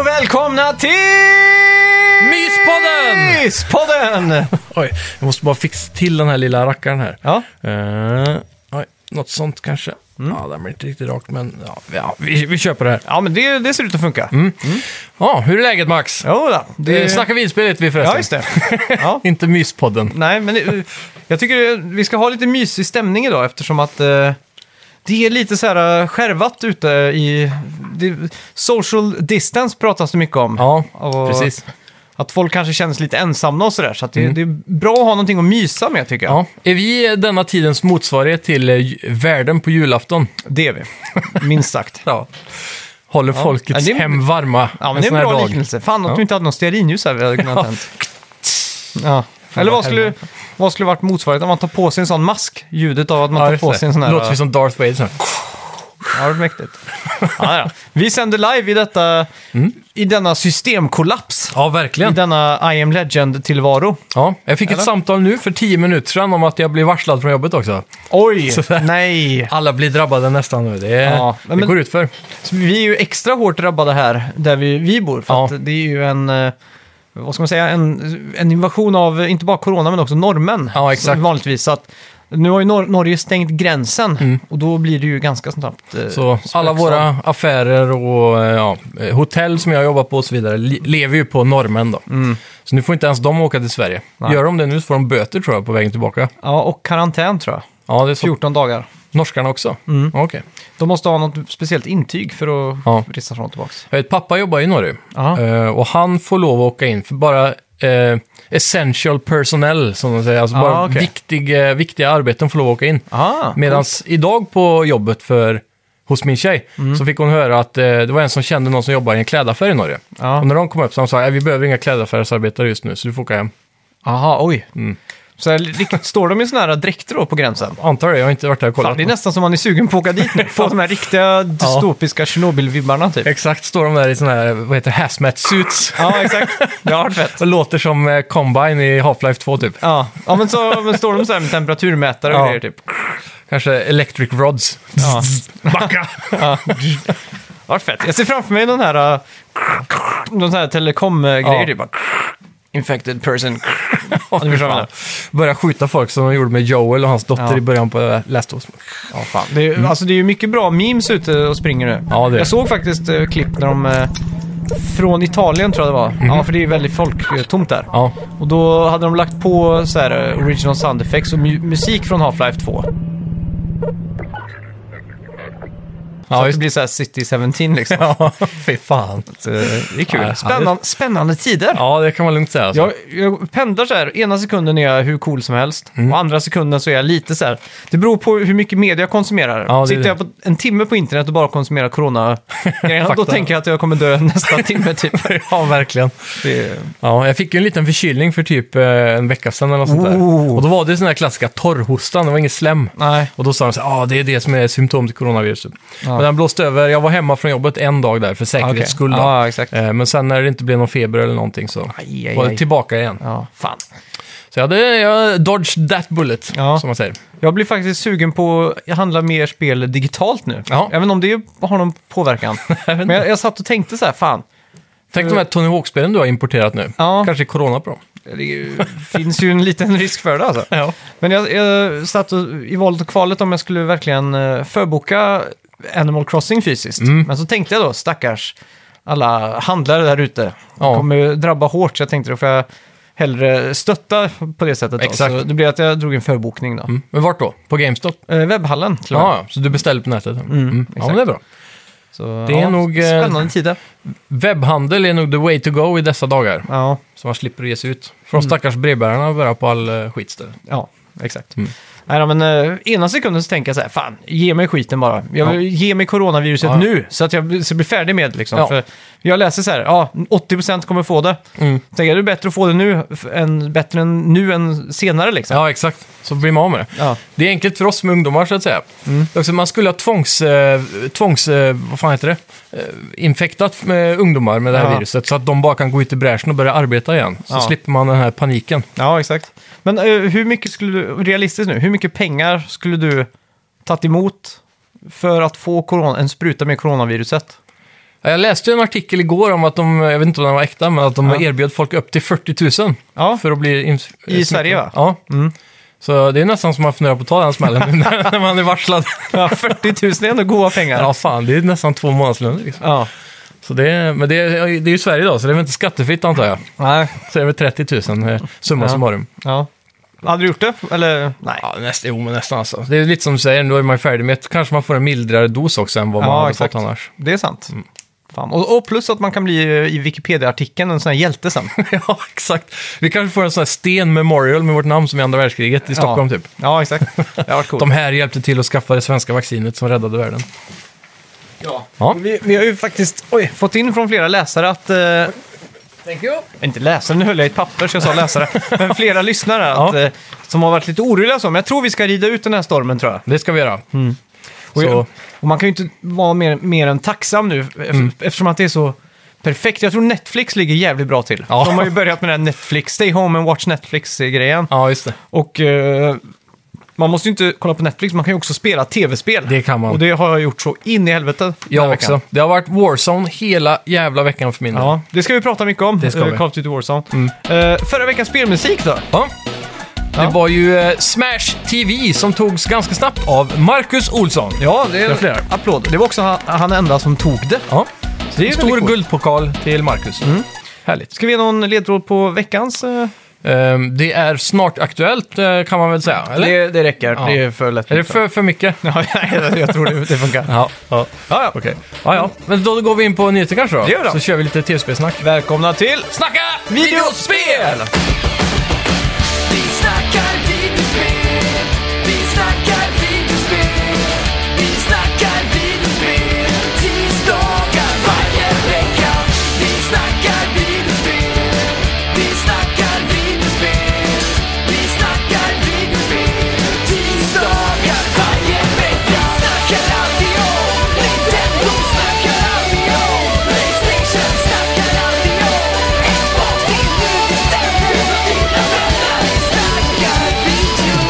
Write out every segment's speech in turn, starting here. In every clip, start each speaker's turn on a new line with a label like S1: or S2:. S1: välkomna till...
S2: Myspodden!
S1: Myspodden!
S2: Oj, jag måste bara fixa till den här lilla rackaren här.
S1: Ja,
S2: Eh, oj, något sånt kanske.
S1: Mm.
S2: Ja, den blir inte riktigt rakt, men ja, ja, vi, vi köper det här.
S1: ja men det, det ser ut att funka.
S2: Ja, hur är läget Max?
S1: Jo då,
S2: Mm. Det... Snacka videospel heter vi förresten.
S1: Ja, just det. Ja.
S2: Inte myspodden.
S1: Nej, men det, jag tycker vi ska ha lite mysig stämning idag eftersom att eh, det är lite så här eh, skärvat ute i... Det, social distance pratas det mycket om.
S2: Ja,
S1: Och
S2: precis.
S1: Att folk kanske känner sig lite ensamma och sådär. Så att det,
S2: Mm.
S1: det är bra att ha någonting att mysa med tycker jag.
S2: Ja. Är vi denna tidens motsvarighet till eh, ju- världen på julafton?
S1: Det är vi, minst sagt.
S2: Ja. Håller folkets
S1: Ja, det är-
S2: hem varma
S1: Ja, men
S2: en
S1: det är
S2: sån
S1: en
S2: här
S1: bra
S2: dag.
S1: liknelse. Fan att
S2: Ja.
S1: du inte hade någon stearinljus här vi hade kunnat
S2: Ja.
S1: tänt. Ja. Eller vad
S2: vad
S1: skulle,
S2: helvete.
S1: vad skulle varit motsvarigheten om man tar på sig en sån mask? Ljudet av att man
S2: Ja,
S1: tar
S2: just
S1: på
S2: det.
S1: sig en sån här...
S2: Låter vi som Darth Vader. så här.
S1: Ja, det är mäktigt. ja, ja. Vi sänder live i, detta, i denna systemkollaps.
S2: Ja,
S1: I
S2: Mm. verkligen.
S1: denna I am legend-tillvaro.
S2: Ja, jag fick
S1: Eller?
S2: ett samtal nu för tio minuter sedan om att jag blev varslad från jobbet också.
S1: Oj,
S2: Sådär.
S1: nej.
S2: Alla blir drabbade nästan nu. Det, är-
S1: Ja, men-
S2: det går ut för.
S1: Så vi är ju extra hårt drabbade här, där vi, vi bor. För
S2: Ja.
S1: att det är ju en... eh, Vad ska man säga? En, en invasion av, eh, inte bara corona, men också norrmän.
S2: Ja, exakt.
S1: Så Vanligtvis. Så att, nu har ju Nor- Norge stängt gränsen och då blir det ju ganska snabbt... eh,
S2: Mm. Så alla
S1: spökslag.
S2: våra affärer och eh, ja, eh, hotell som jag jobbar på och så vidare li- lever ju på normen då. Så nu får inte ens de åka till Sverige.
S1: Mm. Nej.
S2: Gör de det nu så får de böter tror jag på vägen tillbaka.
S1: Ja, och karantän tror jag.
S2: Ja, det är så.
S1: 14 dagar.
S2: Norskarna också?
S1: Mm.
S2: Ja, Okej.
S1: De måste ha något speciellt intyg för att
S2: Ja.
S1: resa fram och tillbaka.
S2: Jag vet, pappa jobbar i Norge.
S1: Ja.
S2: Eh, och han får lov att åka in för bara eh, essential personnel, som de säger. Alltså
S1: Ah,
S2: bara
S1: okej.
S2: viktig, eh, viktiga arbeten får lov att åka in.
S1: Ah,
S2: Medan idag på jobbet för, hos min tjej
S1: Mm.
S2: så fick hon höra att eh, det var en som kände någon som jobbar i en klädaffär i Norge.
S1: Ja.
S2: Och när de kom upp så de sa "Nej, vi behöver inga klädaffärsarbetare just nu så du får åka hem.
S1: Aha, oj.
S2: Mm.
S1: Så här, riktigt, står de i sådana här dräkter då på gränsen?
S2: Antar det, jag har inte varit där och kollat.
S1: Fan, det är nästan som man är sugen på att åka dit nu. Få de här riktiga dystopiska Tjernobyl-vibbarna typ.
S2: Exakt, står de där i sådana här, vad heter det, hazmat suits.
S1: Ja, exakt. Det har varit fett.
S2: Och låter som eh, Combine i Half-Life 2 typ.
S1: Ja, ja men så men står de så här med temperaturmätare och
S2: Ja.
S1: grejer typ.
S2: Kanske Electric Rods.
S1: Ja.
S2: Backa!
S1: Ja. Vad fett. Jag ser framför mig den här, äh, de här telekom-grejer
S2: Ja.
S1: typ. Bara, Infected person. Ja, du förstår vad jag menar.
S2: Börja skjuta folk som de gjorde med Joel och hans dotter
S1: Ja.
S2: i början på eh, Last of Us.
S1: Ja, fan. Det är, Alltså det är ju mycket bra memes ute och springer nu.
S2: Ja, det är
S1: Jag
S2: det.
S1: såg faktiskt eh, klipp när de... eh, från Italien tror jag det var. Ja, för det är ju väldigt folktomt där.
S2: Mhm. Ja.
S1: Och då hade de lagt på så här eh, original sound effects och mu- musik från Half-Life 2.
S2: Ja,
S1: så att det
S2: just
S1: blir så här City 17 liksom.
S2: Ja, fy fan.
S1: Så, eh, det är
S2: Ja,
S1: kul.
S2: det-
S1: Spännande, spännande tider.
S2: Ja, det kan man lugnt säga. Alltså.
S1: Jag, jag pendlar så här, ena sekunden är jag hur cool som helst
S2: Mm.
S1: och andra sekunden så är jag lite så här. Det beror på hur mycket media jag konsumerar.
S2: Ja, det är
S1: Sitter
S2: det.
S1: jag på en timme på internet och bara konsumerar corona då
S2: Fakta.
S1: tänker jag att jag kommer dö nästa timme typ.
S2: Ja, verkligen.
S1: Det är...
S2: Ja, jag fick ju en liten förkylning för typ eh, en vecka sedan eller något sånt där.
S1: Oh.
S2: Och då var det sån där klassiska torrhostan, det var inget slem.
S1: Nej.
S2: Och då sa de så här, ah, det är det som är symptom till coronaviruset.
S1: Ja.
S2: Men den blåste över, jag var hemma från jobbet en dag där för säkerhets
S1: Okej.
S2: skull. Då.
S1: Ja, exakt.
S2: Eh, Men sen när det inte blev någon feber eller någonting så
S1: Aj, aj,
S2: var
S1: aj.
S2: det tillbaka igen.
S1: Ja, fan.
S2: Så jag, hade, jag dodged that bullet,
S1: Ja.
S2: som man säger.
S1: Jag blir faktiskt sugen på att handla mer spel digitalt nu.
S2: Ja.
S1: Även om det har någon påverkan. Men jag, jag satt och tänkte så här, fan.
S2: Tänk de här Tony Hawk-spelen du har importerat nu.
S1: Ja.
S2: Kanske är corona på dem.
S1: Det är ju- finns ju en liten risk för det alltså.
S2: Ja.
S1: Men jag, jag satt och, i valet och kvalet om jag skulle verkligen eh, förboka Animal Crossing fysiskt.
S2: Mm.
S1: Men så tänkte jag då, stackars alla handlare där ute.
S2: Ja.
S1: Det kommer ju drabba hårt, så jag tänkte då får jag hellre stötta på det sättet.
S2: Exakt.
S1: Då. Så det blev att jag drog en förbokning då.
S2: Men vart då? På GameStop?
S1: Eh, webbhallen till och med.
S2: Ja, ja. så du beställde på nätet? Mm. Ja,
S1: exakt.
S2: men det är bra.
S1: Så,
S2: Det är nog, eh,
S1: Spännande tider.
S2: Webbhandel är nog the way to go i dessa dagar.
S1: Ja,
S2: Så man slipper ge sig ut. För
S1: Mm.
S2: de stackars brevbärarna börjar på all eh, skit istället.
S1: ja exakt.
S2: Mm.
S1: Nej, då, men eh, ena sekunden så tänker jag så här, fan, ge mig skiten bara. Jag vill, Ge mig coronaviruset
S2: Ja.
S1: nu, så att jag blir- så blir färdig med det. Liksom.
S2: Ja.
S1: För jag läser så här, ja, 80% kommer få det.
S2: Mm.
S1: Tänker jag, det är bättre att få det nu, f- än, bättre än nu än senare liksom.
S2: Ja, exakt. Så blir man av med det.
S1: Ja.
S2: Det är enkelt för oss som är ungdomar, så att säga.
S1: Mm.
S2: Det är Också, man skulle ha tvångs... Eh, tvångs eh, vad fan heter det? Eh, infektat med ungdomar med det här
S1: Ja.
S2: viruset, så att de bara kan gå ut i bräschen och börja arbeta igen. Så
S1: Ja.
S2: slipper man den här paniken.
S1: Ja, exakt. Men eh, hur mycket skulle du, realistiskt nu, hur mycket pengar skulle du tagit emot för att få corona, en spruta med coronaviruset?
S2: Ja, Jag läste ju en artikel igår om att de, jag vet inte om den var äkta, men att de
S1: Ja.
S2: erbjöd folk upp till 40 000
S1: Ja.
S2: för att bli ins-
S1: I Sverige, va? Mm.
S2: Ja. Så det är nästan som man funderar på att ta den smällen nu när när man är varslad.
S1: Ja, 40 000 är ändå goda pengar.
S2: Ja, fan, det är nästan två månadslöner. Liksom.
S1: Ja.
S2: Så det, men det, är- det är ju Sverige då, så det är väl inte skattefritt antar jag.
S1: Nej.
S2: Så det är väl 30 000 eh, summa
S1: Ja.
S2: summarum.
S1: Ja. Hade du gjort det? Eller? Nej.
S2: Ja, näst, jo, men nästan alltså. Det är lite som du säger, då är man ju färdig med kanske man får en mildare dos också än vad man
S1: Ja,
S2: hade
S1: exakt.
S2: fått annars.
S1: Det är sant.
S2: Mm.
S1: Fan. Och, och plus att man kan bli eh, i Wikipedia-artikeln en sån här hjälte sen.
S2: ja, exakt. Vi kanske får en sån här sten memorial med vårt namn som i andra världskriget i Stockholm typ.
S1: Ja, exakt. Det har varit coolt.
S2: De här hjälpte till att skaffa det svenska vaccinet som räddade världen.
S1: Ja.
S2: Ja.
S1: Vi, vi har ju faktiskt oj, fått in från flera läsare att... Eh,
S2: Thank you.
S1: inte läsare, nu höll jag i ett papper så jag sa läsare. men flera lyssnare att,
S2: Ja.
S1: eh, som har varit lite oroliga så. Men jag tror vi ska rida ut den här stormen tror jag.
S2: Det ska vi göra.
S1: Mm. Och, jag,
S2: Så,
S1: och man kan ju inte vara mer, mer än tacksam nu eff-
S2: Mm.
S1: eftersom att det är så perfekt. Jag tror Netflix ligger jävligt bra till.
S2: Ja.
S1: De har ju börjat med den här Netflix, stay home and watch Netflix-grejen.
S2: ja, just det.
S1: Och eh, man måste ju inte kolla på Netflix, man kan ju också spela tv-spel.
S2: Det kan man.
S1: Och det har jag gjort så in i helvete. den här
S2: Jag
S1: veckan.
S2: också. Det har varit Warzone hela jävla veckan för min del.
S1: Ja, det ska vi prata mycket om. Det
S2: ska vi. Mm.
S1: Call of Duty Warzone. Eh, förra veckans spelmusik då?
S2: Ja. Det
S1: Ja.
S2: var ju eh, Smash TV som togs ganska snabbt av Marcus Olsson.
S1: Ja, det
S2: är flera.
S1: applåd. Det var också han, han enda som tog det.
S2: Ja.
S1: Det är
S2: En
S1: väldigt
S2: stor
S1: coolt. Mm.
S2: guldpokal till Marcus. Härligt.
S1: Ska vi ge någon ledtråd på veckans? eh?
S2: Ehm, det är snart aktuellt eh, kan man väl säga, eller?
S1: Det, det räcker,
S2: Ja.
S1: det är för lätt.
S2: Är det för, för mycket?
S1: Ja, nej, jag tror det, det funkar.
S2: Ja. Ja,
S1: Ja, ja.
S2: ja, Men då går vi in på nyheter kanske då?
S1: Det gör vi.
S2: Så kör vi lite tv-spelsnack.
S1: Välkomna till...
S2: Snacka videospel!
S3: Vi snackar videospel, vi snackar videospel, vi snackar videospel, tisdagar varje vecka. Vi snackar videospel, vi snackar videospel, vi snackar videospel, tisdagar varje vecka. Snackar alltid om Nintendo, snackar alltid om Playstation, snackar alltid om Xbox, det är nu vi sätter dina vänner. Vi snackar video.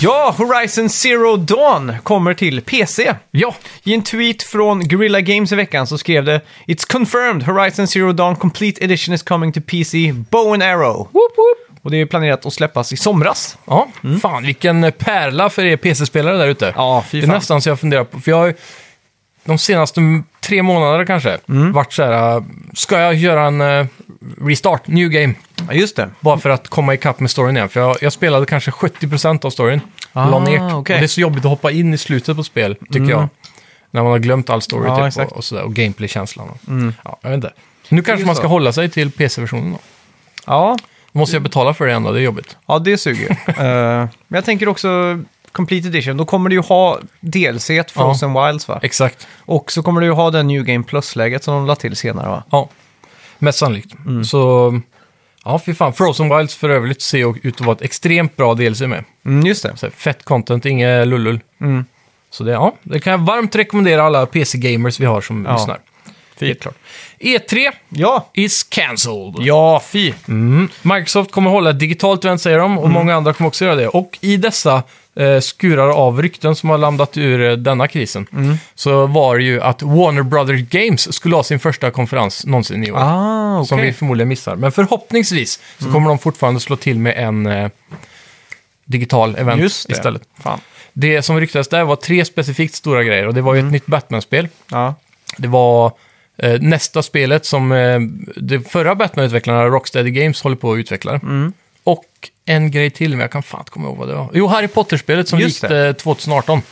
S1: Ja, Horizon Zero Dawn kommer till PC.
S2: Ja,
S1: I en tweet från Guerrilla Games i veckan så skrev det It's confirmed! Horizon Zero Dawn Complete Edition is coming to PC, Bow and Arrow. Och det är planerat att släppas i somras.
S2: ja. fan vilken pärla för er PC-spelare där ute.
S1: Ja, fy
S2: det är
S1: fan.
S2: nästan så jag funderar på, för jag har ju de senaste m- tre månaderna kanske
S1: Mm.
S2: varit så här, äh, ska jag göra en eh, restart, new game,
S1: Ja, just det.
S2: bara för att komma ikapp med storyn igen. För jag, jag spelade kanske 70% av storyn,
S1: Ah,
S2: la ner. Och
S1: okej. Mm.
S2: Det är så jobbigt att hoppa in i slutet på ett spel, tycker jag. När man har glömt all story
S1: Ja,
S2: typ,
S1: exakt. Mm.
S2: och, och, sådär, och gameplay-känslan. och- Ja, jag vet inte. Nu kanske man ska
S1: så.
S2: hålla sig till PC-versionen då.
S1: Ja,
S2: Då måste jag betala för det ändå, det är jobbigt.
S1: ja det suger. Eh, men jag tänker också Complete Edition, då kommer du ju ha DLC et Frozen Wilds va?
S2: Exakt.
S1: Och så kommer du ju ha den New Game Plus-läget som de la till senare va?
S2: Ja, mest sannolikt.
S1: Mm.
S2: Så, ja fy fan. Frozen Wilds för övrigt ser ju ut att vara ett extremt bra DLC med.
S1: Mm, just det.
S2: Så här, fett content, inget lullull.
S1: Mm.
S2: Så det, ja, det kan jag varmt rekommendera alla PC-gamers vi har som
S1: Ja.
S2: lyssnar. Helt klart. E3
S1: Ja!
S2: is cancelled.
S1: Ja, fy!
S2: Mm. Microsoft kommer hålla ett digitalt event säger de och
S1: Mm.
S2: många andra kommer också göra det. Och i dessa eh, skurar av rykten som har landat ur eh, denna krisen
S1: Mm.
S2: så var det ju att Warner Brothers Games skulle ha sin första konferens någonsin i år.
S1: Ah, okej. Mm.
S2: Som vi förmodligen missar. Men förhoppningsvis så kommer de fortfarande slå till med en eh, digital event
S1: Just det.
S2: istället.
S1: Fan.
S2: Det som ryktades där var tre specifikt stora grejer och det var
S1: Mm.
S2: ju ett nytt Batman-spel.
S1: Ja.
S2: Det var eh, nästa spelet som eh, det förra Batman-utvecklarna, Rocksteady Games, håller på att utveckla.
S1: Mm.
S2: Och en grej till, men jag kan fan inte komma ihåg vad det var. Jo, Harry Potter-spelet som
S1: Just Mm.
S2: gick eh, 2018.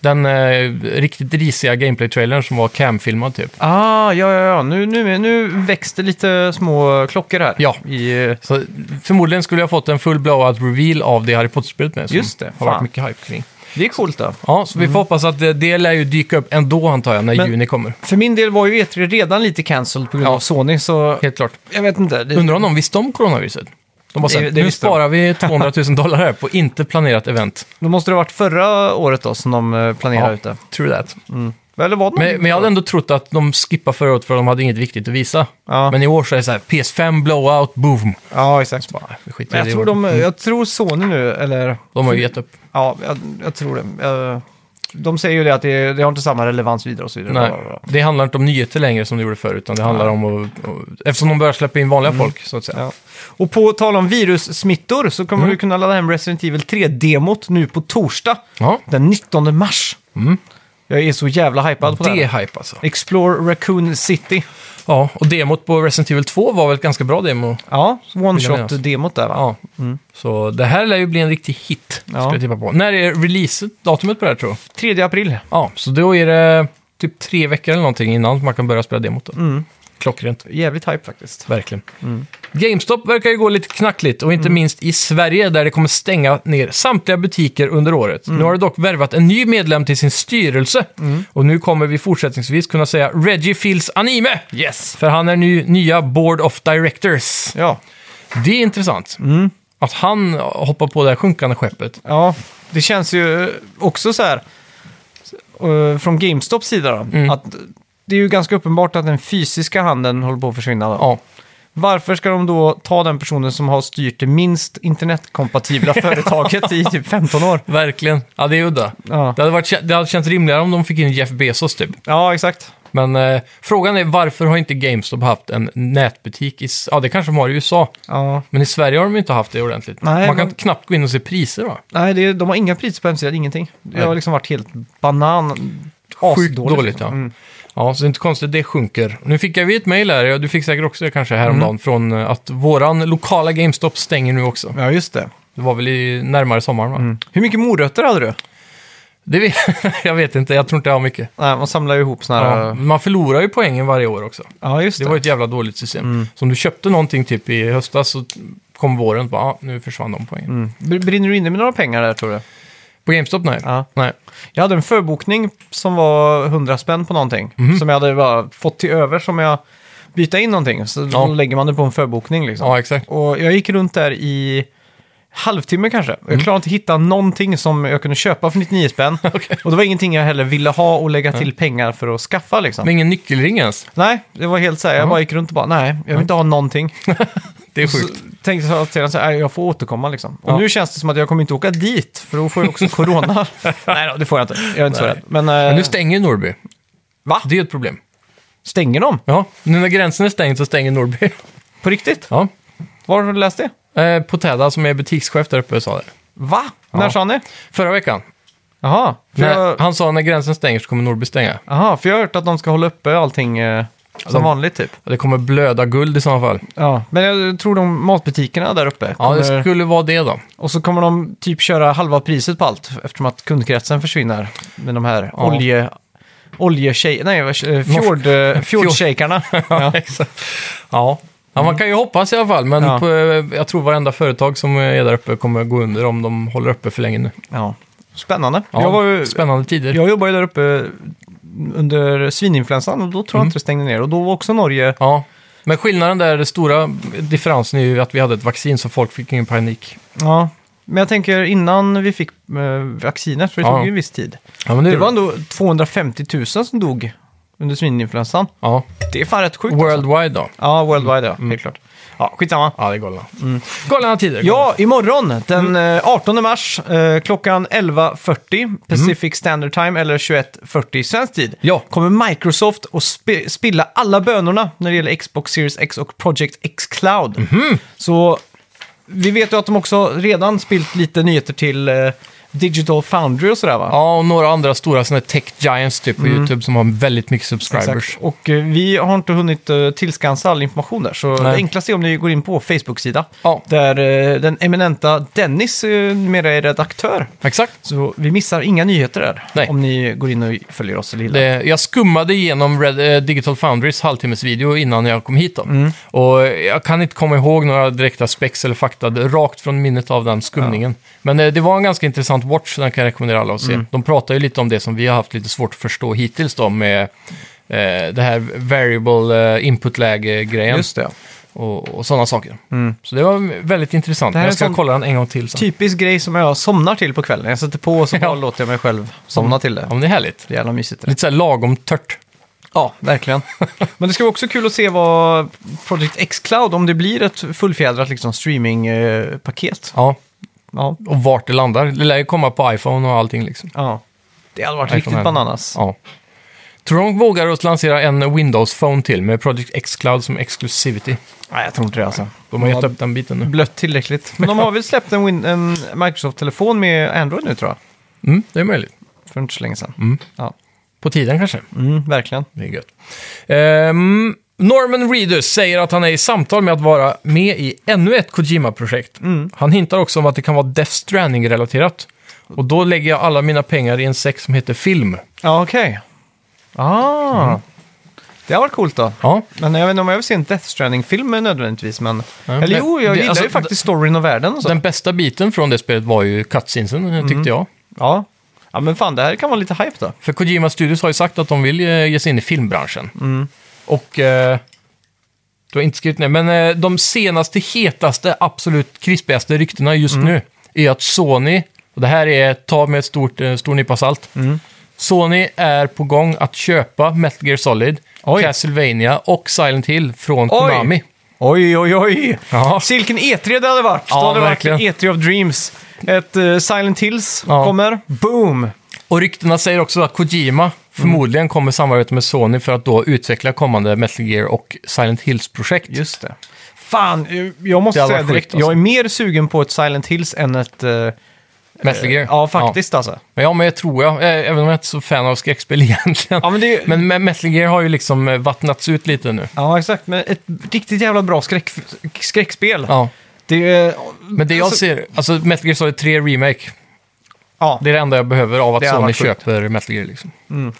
S2: Den eh, riktigt risiga gameplay-trailern som var cam-filmad typ.
S1: Ah, ja, ja, ja. Nu, nu, nu växte lite små klockor här.
S2: Ja.
S1: I, eh,
S2: Så förmodligen skulle jag fått en full blowout reveal av det Harry Potter-spelet med. Som
S1: Just det,
S2: har varit
S1: fan.
S2: mycket hype kring.
S1: det är coolt då.
S2: Ja, så vi får hoppas att det, det lär ju dyka upp ändå antar jag när
S1: Men-
S2: juni kommer.
S1: För min del var ju E3 redan lite cancelled på grund
S2: Ja.
S1: av Sony, så
S2: Helt klart.
S1: jag vet inte. Det,
S2: Undrar om de visste om coronaviruset? De bara så här,
S1: Det- det
S2: nu
S1: visste de."
S2: sparar vi 200 000 dollar här på inte planerat event.
S1: Då måste det ha varit förra året då som de eh, planerade ut det.
S2: true that.
S1: Eller var det
S2: Men, men jag hade ändå trott att de skippade förra året för de hade inget viktigt att visa.
S1: Ja.
S2: Men i år så är det så här, PS5 blowout, boom.
S1: Ja, exakt.
S2: Bara, vi skiter
S1: Men
S2: i
S1: jag,
S2: det Mm. i
S1: tror eh,
S2: år.
S1: de, jag tror Sony nu, eller...
S2: de har ju gett upp.
S1: Ja, jag, jag tror det. Jag, de säger ju det att det, det har inte samma relevans vidare och så vidare.
S2: Nej,
S1: Bla, bla, bla.
S2: det handlar inte om nyheter längre som det gjorde förut, utan det handlar om att, och- eftersom de börjar släppa in
S1: Mm.
S2: vanliga folk, så att säga.
S1: Ja. Och på tal om virussmittor så
S2: Mm.
S1: kommer du kunna ladda hem Resident Evil 3-demot nu på torsdag
S2: Ja,
S1: den 19 mars. Jag är så jävla hypad på det
S2: Mm. det
S1: här.
S2: är hype alltså.
S1: Explore Raccoon City.
S2: Ja, och demot på Resident Evil 2 var väl ett ganska bra demo.
S1: Ja,
S2: minnas.
S1: one-shot-demot där va?
S2: Ja. Så det här lär ju bli en riktig hit,
S1: Mm. Ja.
S2: ska jag tippa på. När är release-datumet på det här, tror jag?
S1: 3 april.
S2: Ja, så då är det typ tre veckor eller någonting innan man kan börja spela demot. Då.
S1: Mm.
S2: Klockrent.
S1: Jävligt hype faktiskt.
S2: Verkligen.
S1: Mm.
S2: GameStop verkar ju gå lite knackligt och inte minst i Sverige där det kommer stänga ner samtliga butiker under året.
S1: Mm.
S2: Nu har det dock värvat en ny medlem till sin styrelse och nu kommer vi fortsättningsvis kunna säga Reggie Fils Anime.
S1: Yes!
S2: För han är nu nya Board of Directors.
S1: Ja,
S2: Det är intressant.
S1: Mm.
S2: Att han hoppar på det här sjunkande skeppet.
S1: ja, det känns ju eh, också så här eh, från GameStops sida då,
S2: Mm.
S1: att det är ju ganska uppenbart att den fysiska handeln håller på att försvinna. Då.
S2: Ja,
S1: Varför ska de då ta den personen som har styrt det minst internetkompatibla företaget i typ 15 år?
S2: verkligen. Ja, det är udda.
S1: Ja,
S2: Det hade, varit, det hade känts rimligare om de fick in Jeff Bezos typ.
S1: ja exakt.
S2: Men eh, frågan är varför har inte GameStop haft en nätbutik? I, s- ja, det kanske de har i USA.
S1: Ja.
S2: Men i Sverige har de ju inte haft det ordentligt.
S1: Nej,
S2: Man kan
S1: men-
S2: knappt gå in och se priser va?
S1: Nej, det, är- de har inga priser på hemsidan, ingenting. Det har
S2: Nej.
S1: liksom varit helt banan.
S2: Sjukt
S1: asdåligt, Mm.
S2: dåligt, ja. Ja, så det är inte konstigt, det sjunker. Nu fick jag ju ett mejl här, ja, du fick säkert också det kanske häromdagen,
S1: Mm.
S2: från eh, att våran lokala GameStop stänger nu också.
S1: Ja, just det.
S2: Det var väl i närmare sommaren va?
S1: Hur mycket morötter hade du?
S2: Det vet, jag vet inte, jag tror inte jag har mycket.
S1: Nej, man samlar ju ihop såna här...
S2: Ja,
S1: Ja,
S2: man förlorar ju poängen varje år också.
S1: just det.
S2: Det var ju ett jävla dåligt system.
S1: Mm.
S2: Så om du köpte någonting typ i höstas så kom våren och bara, ah, nu försvann de poängen.
S1: Mm. Br- Brinner du inne med några pengar där, tror du?
S2: På GameStop nej.
S1: Ja.
S2: nej.
S1: Jag hade en förbokning som var 100 spänn på någonting. Som jag hade bara fått till över som jag byta in någonting. Så
S2: Ja.
S1: då lägger man det på en förbokning liksom.
S2: Ja, exakt.
S1: Och jag gick runt där i halvtimme kanske. Och
S2: Mm.
S1: Jag klarade inte hitta någonting som jag kunde köpa för 99 spänn. Och det var ingenting jag heller ville ha och lägga till pengar för att skaffa liksom.
S2: Men ingen nyckelring ens.
S1: Nej, det var helt så här. Jag bara gick runt och bara, nej, jag vill inte ha någonting.
S2: Det är
S1: Så
S2: sjukt.
S1: tänkte jag sedan så här, "Nej, jag får återkomma liksom. Och
S2: Ja.
S1: nu känns det som att jag kommer inte åka dit, för då får jag också corona. Nej då, det får jag inte. Jag är inte så
S2: Nej.
S1: rädd. Men,
S2: Men
S1: eh,
S2: nu stänger Norby.
S1: Va?
S2: Det är ett problem.
S1: stänger de?
S2: Ja, nu när gränsen är stängd så stänger Norby.
S1: På riktigt?
S2: Ja.
S1: Var har du läst det?
S2: Eh, Potäda som är butikschef där uppe sa det.
S1: Va? När sa ni?
S2: Förra veckan.
S1: Jaha, för,
S2: När,
S1: jag,
S2: Han sa när gränsen stänger så kommer Norby stänga.
S1: aha, för jag har hört att de ska hålla uppe allting eh, som
S2: de-
S1: vanligt typ.
S2: Ja, Det kommer blöda guld i sådana fall.
S1: Ja, men jag tror de matbutikerna där uppe
S2: Ja,
S1: kommer,
S2: det skulle vara det då.
S1: och så kommer de typ köra halva priset på allt eftersom att kundkretsen försvinner med de här
S2: Ja.
S1: olje... Oljetjej... Nej, vad- eh, fjord, eh, fjordshejkarna. ja.
S2: Exakt. Ja. Ja, man kan ju hoppas i alla fall, men
S1: Ja.
S2: på, eh, jag tror varenda företag som är där uppe kommer gå under om de håller uppe för länge nu.
S1: ja. Spännande.
S2: Ja,
S1: jag, var ju,
S2: Spännande tider.
S1: jag jobbade ju där uppe under svininfluensan och då tror jag
S2: Mm.
S1: inte det stängde ner. Och då var också Norge...
S2: Ja. Men skillnaden där, den stora differensen är ju att vi hade ett vaccin så folk fick ingen panik.
S1: Ja. Men jag tänker innan vi fick eh, vaccinet, för det
S2: Ja.
S1: tog ju en viss tid.
S2: Ja, men nu,
S1: Det var ändå 250 000 som dog under svininfluensan.
S2: ja.
S1: Det är fan rätt sjukt. alltså.
S2: Worldwide då.
S1: Ja, worldwide ja, helt klart. Ja, skitsamma.
S2: Ja, det är galna. Galna tider.
S1: Mm. Ja, imorgon den eh, 18 mars eh, klockan 11.40 Pacific Standard Time eller 21.40 svensk tid
S2: Ja.
S1: kommer Microsoft att sp- spilla alla bönorna när det gäller Xbox Series X och Project X Cloud. Så vi vet ju att de också redan spilt lite nyheter till eh, Digital Foundry och sådär va?
S2: Ja, och några andra stora sådana här tech giants typ på YouTube som har väldigt mycket subscribers.
S1: Mm. Exakt. Och eh, vi har inte hunnit eh, tillskansa all information där, så
S2: Nej.
S1: det enklaste är om ni går in på vår Facebook-sida.
S2: Ja.
S1: Där eh, den eminenta Dennis eh, numera är redaktör.
S2: Exakt.
S1: Så vi missar inga nyheter där.
S2: Nej.
S1: Om ni går in och följer oss eller gillar.
S2: Det, jag skummade igenom Red, eh, Digital Foundries halvtimmesvideo innan jag kom hit. Då.
S1: Mm.
S2: Och jag kan inte komma ihåg några direkta specs eller fakta det- rakt från minnet av den skumningen. Men eh, det var en ganska intressant watch, så den kan jag rekommendera alla att se.
S1: Mm.
S2: De pratar ju lite om det som vi har haft lite svårt att förstå hittills då med eh, det här variable eh, input-läge-grejen
S1: Just det. ja.
S2: och, och sådana saker. Så det var väldigt intressant.
S1: Det här
S2: jag
S1: är typ-
S2: ska
S1: sån-
S2: kolla den en gång till sen.
S1: Typisk grej som jag somnar till på kvällen. Jag sätter på och så bara
S2: Ja. Mm.
S1: låter jag mig själv somna till det.
S2: Ja, men det är härligt.
S1: Det är jävla mysigt. Det.
S2: Lite så här lagom tört.
S1: Ja, verkligen. Men det ska vara också kul att se vad Project X-Cloud, om det blir ett fullfjädrat liksom, streamingpaket.
S2: Ja,
S1: Ja.
S2: och vart det landar. Det lär ju komma på iPhone och allting liksom.
S1: ja. Det hade varit
S2: iPhone
S1: riktigt
S2: här.
S1: bananas.
S2: Ja. Tror de vågar att lansera en Windows Phone till med Project X-Cloud som exclusivity?
S1: Nej, jag tror inte det alltså.
S2: De har gett
S1: Ja.
S2: upp den biten nu.
S1: Blött tillräckligt. Men de har väl släppt en, Win- en Microsoft-telefon med Android nu tror jag.
S2: Mm, det är möjligt.
S1: För inte så länge sedan.
S2: Mm.
S1: Ja.
S2: På tiden kanske.
S1: Mm, verkligen.
S2: Det är gött. Ehm, Norman Reedus säger att han är i samtal med att vara med i ännu ett Kojima-projekt.
S1: Mm.
S2: Han hintar också om att det kan vara Death Stranding-relaterat. Och då lägger jag alla mina pengar i en säck som heter film.
S1: Ja, okej. Ah.
S2: Mm.
S1: Det har varit coolt då.
S2: Ja,
S1: Men jag vet inte om jag vill se en Death Stranding-film nödvändigtvis. Men... Eller
S2: men
S1: jo, jag
S2: det-
S1: gillar
S2: alltså,
S1: ju faktiskt storyn och världen och så.
S2: den bästa biten från det spelet var ju cutscenesen,
S1: Mm.
S2: tyckte jag.
S1: Ja. ja, men fan det här kan vara lite hype då.
S2: För Kojima Studios har ju sagt att de vill eh, ge sig in i filmbranschen.
S1: Mm.
S2: Och... Eh, du har inte skrivit ner, men eh, de senaste, hetaste, absolut krispigaste ryktena just
S1: Mm.
S2: nu är att Sony, och det här är ta med ett stort, eh, stor nypa salt,
S1: Mm.
S2: Sony är på gång att köpa Metal Gear Solid,
S1: Oj.
S2: Castlevania och Silent Hill från
S1: Oj.
S2: Konami.
S1: Oj, oj, oj!
S2: Ja.
S1: Silken E3 det hade varit.
S2: Ja,
S1: Då hade det varit
S2: verkligen.
S1: E3 of Dreams. Ett eh, Silent Hills
S2: Ja.
S1: kommer. Boom!
S2: Och ryktena säger också att
S1: Mm.
S2: Kojima förmodligen kommer samarbeta med Sony för att då utveckla kommande Metal Gear och Silent Hills-projekt.
S1: Just det. Fan, eh, jag måste
S2: Det hade
S1: säga
S2: varit
S1: direkt.
S2: sjukt, alltså.
S1: Jag är mer sugen på ett Silent Hills än ett... eh,
S2: Metal Gear.
S1: Ja, faktiskt alltså.
S2: Men ja, men jag tror jag. eh, Även om jag inte är så fan av skräckspel egentligen.
S1: Ja, men det-
S2: men Me- Metal Gear har ju liksom eh, vattnats ut lite nu.
S1: Ja, exakt. Men ett riktigt jävla bra skräck, skräckspel.
S2: Ja.
S1: Det är... eh,
S2: Men det jag
S1: Alltså-
S2: ser, alltså Metal Gear Solid 3 Remake,
S1: Ja,
S2: det är det enda jag behöver av att
S1: Det hade
S2: Sony
S1: varit sjukt.
S2: köper Metal Gear liksom.
S1: Mm.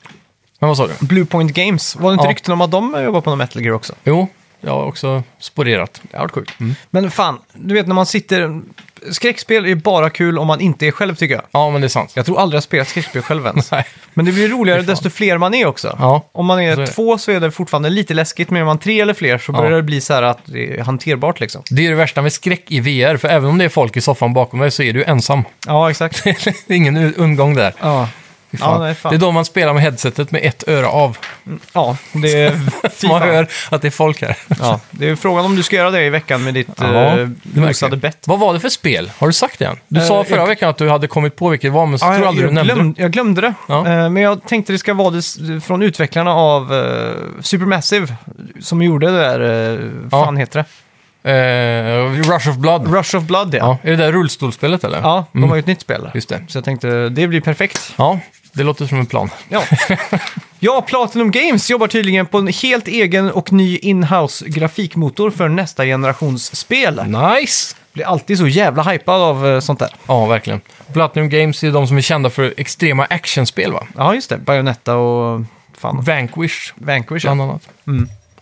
S2: Men vad sa du?
S1: Bluepoint Games. Var det inte
S2: Ja.
S1: rykten om att de jobbar på någon Metal Gear också?
S2: Jo, jag har också sporerat.
S1: Det har varit sjukt.
S2: Mm.
S1: Men fan, du vet när man sitter... Skräckspel är bara kul om man inte är själv tycker jag.
S2: Ja, men det är sant.
S1: Jag tror aldrig jag har spelat skräckspel själv ens.
S2: Nej.
S1: Men det blir roligare desto fler man är också.
S2: Ja.
S1: Om man är,
S2: Så är det.
S1: två så är det fortfarande lite läskigt, men är man tre eller fler så börjar
S2: Alltså- Ja.
S1: det bli så här att det är hanterbart liksom.
S2: Det är det värsta med skräck i VR, för även om det är folk i soffan bakom dig så är du ensam.
S1: Ja, exakt.
S2: det är ingen u- undgång där.
S1: ja.
S2: Fy
S1: Ja, nej, fan.
S2: Det är då man spelar med headsetet med ett öra av.
S1: ja, det är...
S2: Så man
S1: fan.
S2: hör att det är folk här.
S1: ja, det är frågan om du ska göra det i veckan med ditt
S2: Ja,
S1: eh,
S2: det
S1: mosade
S2: verkar.
S1: bett.
S2: Vad var det för spel? Har du sagt det än? Du
S1: Eh,
S2: sa förra
S1: jag-
S2: veckan att du hade kommit på vilket det var, men så tror jag
S1: jag,
S2: aldrig du nämnde det.
S1: glömde, jag glömde det.
S2: Ja.
S1: Eh, men jag tänkte det ska vara det, s- från utvecklarna av eh, Supermassive, som gjorde det där, eh,
S2: Ja.
S1: fan heter det?
S2: Eh, Rush of Blood.
S1: Rush of Blood, ja.
S2: Ja, är det där rullstolsspelet eller?
S1: Ja, de
S2: Mm.
S1: har ju ett nytt spel.
S2: Just det.
S1: Så jag tänkte, det blir perfekt.
S2: Ja, det låter som en plan.
S1: Ja. ja, Platinum Games jobbar tydligen på en helt egen och ny inhouse grafikmotor för nästa generations spel.
S2: Nice!
S1: Blir alltid så jävla hypad av eh, sånt där.
S2: Ja, verkligen. Platinum Games är de som är kända för extrema actionspel, va?
S1: Ja, just det. Bayonetta och fan,
S2: Vanquish,
S1: Vanquish.
S2: bland
S1: Ja.
S2: annat.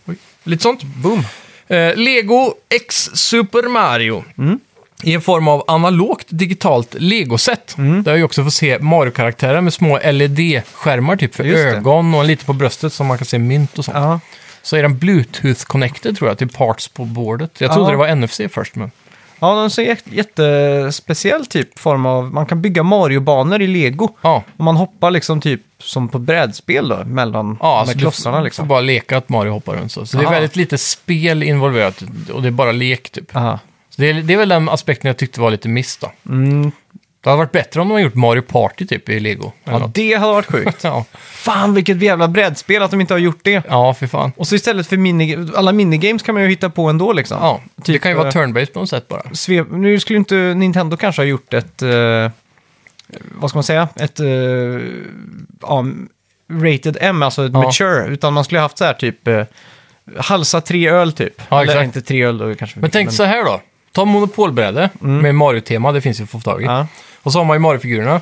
S2: Oj. Lite sånt.
S1: Mm. Boom.
S2: Eh, Lego X Super Mario.
S1: Mm.
S2: I en form av analogt digitalt legoset.
S1: Mm.
S2: Där vi också får se Mario-karaktärer med små LED-skärmar typ för
S1: Just det.
S2: ögon och lite på bröstet som man kan se mynt och sånt.
S1: Ja.
S2: Så är den Bluetooth-connected tror jag till parts på bordet. Jag trodde
S1: Ja.
S2: det var NFC först men...
S1: ja, den ser jätte- jättespeciell typ form av... Man kan bygga Mario-banor i lego.
S2: Ja,
S1: Och man hoppar liksom typ som på brädspel då, mellan
S2: ja
S1: med
S2: alltså
S1: klossarna
S2: du f-
S1: liksom.
S2: får bara leka att Mario hoppar runt så. Så det är
S1: Ah.
S2: väldigt lite spel involverat och det är bara lek typ.
S1: Aha.
S2: Så det, är, det är väl den aspekten jag tyckte var lite miss då.
S1: Mm.
S2: Det hade varit bättre om de hade gjort Mario Party typ i Lego. eller
S1: Ja,
S2: något.
S1: det hade varit sjukt.
S2: ja.
S1: Fan, vilket jävla brädspel att de inte har gjort det.
S2: ja, för fan.
S1: Och så istället för mini, alla minigames kan man ju hitta på ändå liksom.
S2: Ja, det
S1: Typ,
S2: kan ju vara
S1: eh,
S2: turn-based på något sätt bara.
S1: Svep, nu skulle inte Nintendo kanske ha gjort ett, eh, vad ska man säga, ett eh, ja, rated M, alltså ett
S2: Ja.
S1: mature, utan man skulle ha haft så här typ eh, halsa tre öl typ.
S2: Ja,
S1: Eller
S2: exakt.
S1: inte tre öl då kanske.
S2: Men tänk så här då. Ta monopolbräde med Mario-tema, det finns ju att få tag i.
S1: Mm. Ja. Mm.
S2: Och så har man ju Mario-figurerna.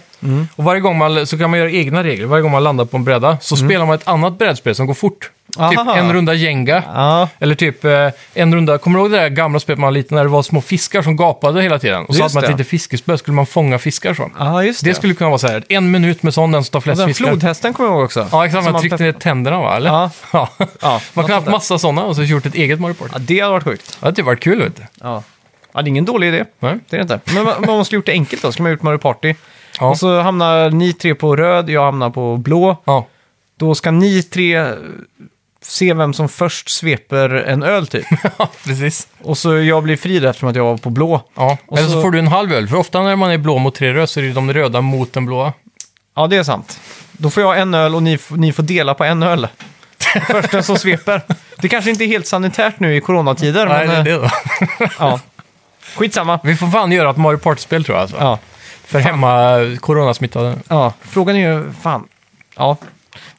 S2: Och varje gång man, så kan man göra egna regler. Varje gång man landar på en bräda så spelar man ett annat brädspel som går fort. Typ
S1: Mm. Aha.
S2: en runda Jenga.
S1: Ja,
S2: Eller typ eh, en runda, kommer du ihåg det där gamla spelet man var liten när det var små fiskar som gapade hela tiden? Och
S1: Just
S2: så hade man
S1: det.
S2: ett litet fiskespö, skulle man fånga fiskar så.
S1: ja just det.
S2: Det skulle kunna vara så här, en minut med sån, den som tar flest
S1: Den
S2: fiskar.
S1: flodhästen kommer jag ihåg också.
S2: Ja, exakt.
S1: Som
S2: Man tryckte ner tänderna va, eller?
S1: Ja.
S2: ja.
S1: Ja,
S2: Man
S1: något
S2: kan ha
S1: sånt
S2: haft
S1: där.
S2: massa sådana och så gjort ett eget Mario Party.
S1: Ja, det hade varit sjukt.
S2: Det hade typ varit kul vet du.
S1: Ja. ja, det är ingen dålig idé.
S2: Nej?
S1: Det är det inte. Men man, man måste ha gjort det enkelt då. Ska man ha gjort Mario Party.
S2: Ja.
S1: Och så hamnar ni tre på röd, jag hamnar på blå.
S2: Ja.
S1: Då ska ni tre eh, se vem som först sveper en öl typ.
S2: ja, precis.
S1: Och så jag blir fri där eftersom att jag var på blå.
S2: Ja.
S1: Och
S2: Eller så
S1: så-
S2: får du en halv öl, för ofta när man är blå mot tre röda så är det ju de röda mot den blåa.
S1: Ja, det är sant. Då får jag en öl och ni, f- ni får dela på en öl. Först den som sveper. Det kanske inte är helt sanitärt nu i coronatider,
S2: Nej, det
S1: men
S2: är
S1: eh,
S2: det då.
S1: ja. skitsamma.
S2: Vi får fan göra ett Mario Party-spel tror jag. Alltså.
S1: Ja,
S2: För hemma eh, coronasmittade.
S1: ja. Frågan är ju, fan. Ja,